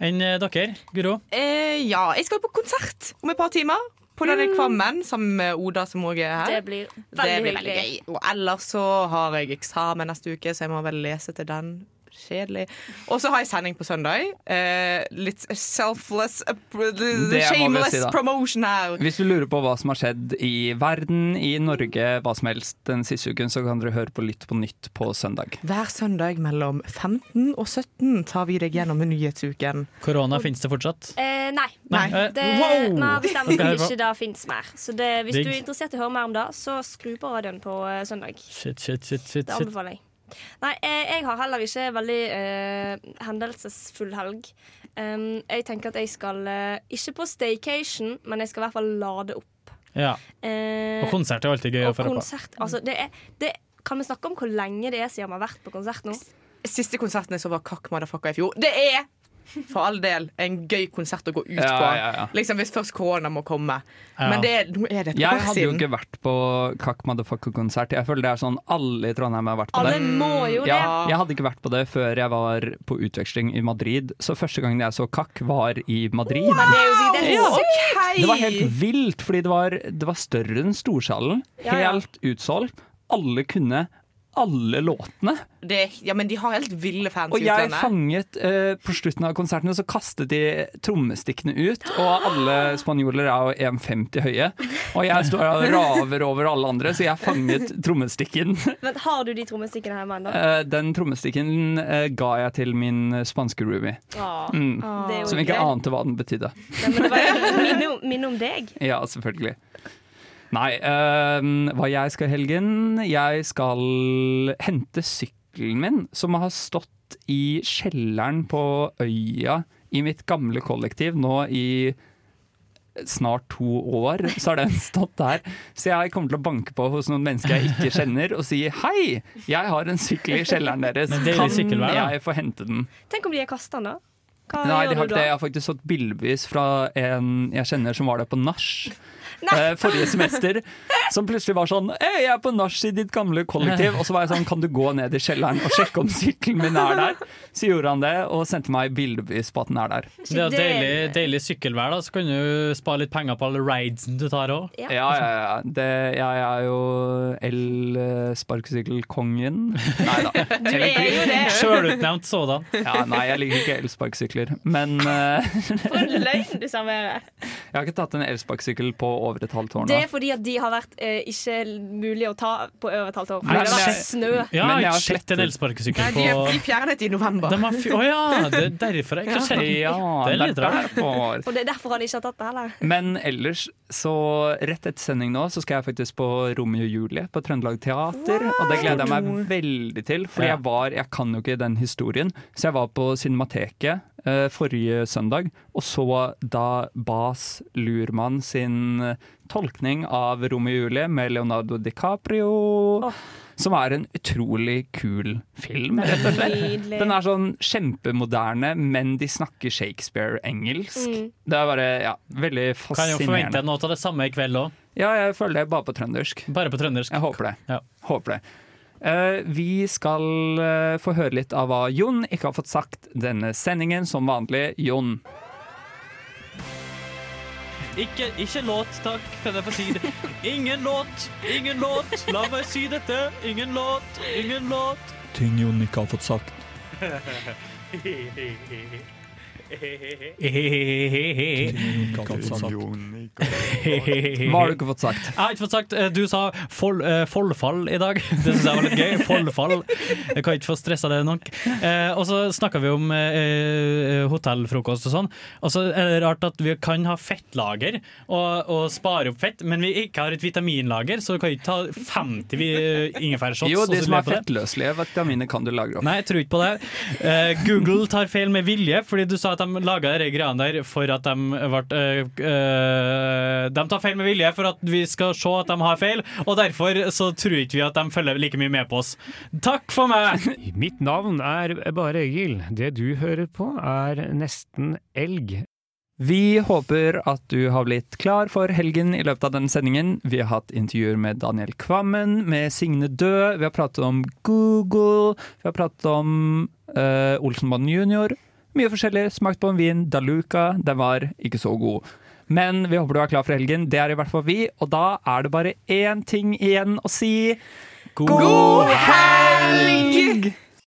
S9: Enn eh, dere, Guro?
S5: Eh, ja, jeg skal på konsert om et par timer. På denne Kvammen, sammen med Oda som også er her.
S11: Mm. Det blir veldig
S5: Det blir veldig
S11: hyggelig.
S5: gøy. Og ellers så har jeg eksamen neste uke, så jeg må vel lese til den. Kjedelig. Og så har jeg sending på søndag. Eh, litt selfless, uh, pr-
S8: vi
S5: shameless
S8: si, da.
S5: promotion her.
S8: Hvis du lurer på hva som har skjedd i verden, i Norge, hva som helst den siste uken, så kan dere høre på Lytt på nytt på søndag.
S5: Hver søndag mellom 15 og 17 tar vi deg gjennom nyhetsuken.
S9: Korona finnes det fortsatt?
S11: Eh, nei.
S5: Nei.
S11: nei. Det,
S5: Wow!
S11: Vi har bestemt
S5: Skal jeg
S11: at
S5: høre på?
S11: ikke det fins mer. Så det, hvis
S9: Digg.
S11: du er interessert i å høre mer om det, så skru på radioen på eh, søndag.
S9: Shit, shit, shit, shit,
S11: Det
S9: shit.
S11: anbefaler jeg. Nei, jeg, jeg har heller ikke veldig eh, hendelsesfull helg. Um, jeg tenker at jeg skal eh, ikke på staycation, men jeg skal i hvert fall lade opp.
S9: Ja.
S11: Eh,
S9: Og konsert er alltid gøy å
S11: og
S9: få høre på.
S11: konsert, altså, det er, det, Kan vi snakke om hvor lenge det er siden vi har vært på konsert nå?
S5: Siste konserten jeg så var Kakk Motherfucker i fjor. Det er for all del en gøy konsert å gå ut
S8: Ja,
S5: på.
S8: ja, ja.
S5: Liksom Hvis først korona må komme.
S8: Ja.
S5: Men det, er- nå er det et
S8: Jeg
S5: år
S8: hadde jo
S5: siden.
S8: ikke vært på Kakk Motherfucker-konsert. Jeg føler det er sånn alle i Trondheim har vært på
S5: Alle
S8: det.
S5: må jo det.
S8: ja, Jeg hadde ikke vært på det før jeg var på utveksling i Madrid. Så første gangen jeg så Kakk, var i Madrid.
S11: Men det er jo sikkert helt
S5: Ja,
S11: sykt.
S5: ok.
S8: Det var helt vilt, fordi det var, det var større enn Storsalen.
S5: Ja, ja.
S8: Helt utsolgt. Alle kunne alle låtene.
S5: Det, ja, men de har helt ville fans
S8: Og
S5: i
S8: jeg
S5: utlandet.
S8: fanget eh, På slutten av konsertene så kastet de trommestikkene ut, og alle spanjoler er jo 1,50 høye. Og jeg står og raver over alle andre, så jeg fanget trommestikken.
S11: Men har du de trommestikkene hjemme ennå?
S8: Eh, Den trommestikken eh, ga jeg til min spanske roomie,
S11: Åh,
S8: mm.
S11: det er jo
S8: som ikke
S11: hyggelig.
S8: ante hva den betydde.
S11: Nei, men det var jo- minne, om- minne om deg.
S8: Ja, selvfølgelig. Nei, øhm, hva jeg skal i helgen? Jeg skal hente sykkelen min, som har stått i kjelleren på øya i mitt gamle kollektiv nå i snart to år. Så har den stått der. Så jeg kommer til å banke på hos noen mennesker jeg ikke kjenner, og si hei, jeg har en sykkel i kjelleren deres,
S9: Men deilig
S8: kan
S9: sykkelvær, da.
S8: jeg få hente den?
S11: Tenk om de har kasta den, da? Hva
S8: Nei, de
S11: gjør
S8: har
S11: du
S8: ikke det. Jeg
S11: da?
S8: har faktisk fått bildebevis fra en jeg kjenner som var der på nach
S11: Nei.
S8: eh, forrige semester. Som plutselig var sånn Hei, jeg er på nach i ditt gamle kollektiv. Og så var jeg sånn Kan du gå ned i kjelleren og sjekke om sykkelen min er der? Så gjorde han det, og sendte meg bildebevis på at den er der.
S9: Det er jo deilig, deilig sykkelvær, da, så kan du spare litt penger på alle ridesen du tar òg.
S8: Ja, ja, ja. Det, jeg er jo el-sparkesykkelkongen. Nei da.
S9: Du er jo det. Sjølutnevnt sådan.
S8: Ja, nei, jeg liker ikke elsparkesykler. Men eh,
S11: For en løgn du serverer.
S8: jeg har ikke tatt en elsparkesykkel på over et halvt år nå.
S11: Det er fordi at de har vært eh, ikke mulig å ta på over et halvt år. Fordi
S8: Nei,
S11: det har vært
S8: men-
S11: snø.
S9: Ja,
S8: Men jeg
S9: jeg har
S8: har
S9: sett en
S8: slettet-
S5: Nei,
S9: elsparkesykkel
S5: de,
S9: på
S5: de fjernet i november.
S9: De har fj- Å ja, det er derfor jeg ikke
S8: Ja.
S9: kjenner
S8: Ja,
S9: Det er
S8: det
S9: litt
S8: er
S9: rart.
S8: derfor.
S11: Og det er derfor han ikke har tatt det heller.
S8: Men ellers, så rett etter sending nå, så skal jeg faktisk på Romeo og Julie på Trøndelag Teater. Og det gleder jeg meg veldig til, for
S9: Ja.
S8: jeg var Jeg kan jo ikke den historien. Så jeg var på Cinemateket eh, forrige søndag og så da Bas Lurmann eh, sin tolkning av Romeo og Julie med Leonardo DiCaprio. som er en utrolig kul film, rett og slett.
S4: Nydelig.
S8: Den er sånn kjempemoderne, men de snakker Shakespeare-engelsk.
S9: Mm.
S8: Det er bare ja, veldig
S9: Kan jo forvente
S8: fascinerende.
S9: noe av det samme i kveld òg.
S8: Ja, jeg føler det bare på trøndersk.
S9: Bare på trøndersk.
S8: Jeg håper det. Håper det. Eh, vi skal eh, få høre litt av hva Jon ikke har fått sagt denne sendingen, som vanlig. Jon.
S9: Ikke, ikke låt, takk, kan jeg få si det. Ingen låt, ingen låt, la meg si dette. Ingen låt, ingen låt.
S8: Ting Jon ikke har fått sagt.
S9: Hva
S8: Hva har du ikke fått sagt?
S9: Jeg har ikke fått sagt eh, Du sa fol, eh, foldfall i dag. Det syns jeg var litt gøy. Foldfall. Jeg kan ikke få stressa det nok. Eh, og så snakka vi om eh, eh, hotellfrokost og sånn. Og så er det rart at vi kan ha fettlager og, og spare opp fett, men vi ikke har et vitaminlager, så du kan ikke ta 50 vi- eh, ingefærshots.
S8: Jo,
S9: og
S8: de
S9: så
S8: som
S9: le
S8: er
S9: på det.
S8: fettløselige vitaminer kan du lagre opp.
S9: Nei, jeg tror ikke på det. Eh, Google tar feil med vilje, fordi du sa at de laga de greiene der for at de ble eh, eh, De tar feil med vilje for at vi skal se at de har feil, og derfor så tror ikke vi at de følger like mye med på oss. Takk for meg!
S6: Mitt navn er Bare Egil. Det du hører på, er nesten elg.
S8: Vi håper at du har blitt klar for helgen i løpet av denne sendingen. Vi har hatt intervjuer med Daniel Kvammen, med Signe Dø, vi har pratet om Google, vi har pratet om eh, Olsenbanden junior. Mye forskjellig. Smakt på en vin, Daluca. Den var ikke så god. Men vi håper du er klar for helgen. Det er i hvert fall vi. Og da er det bare én ting igjen å si.
S9: God
S8: helg!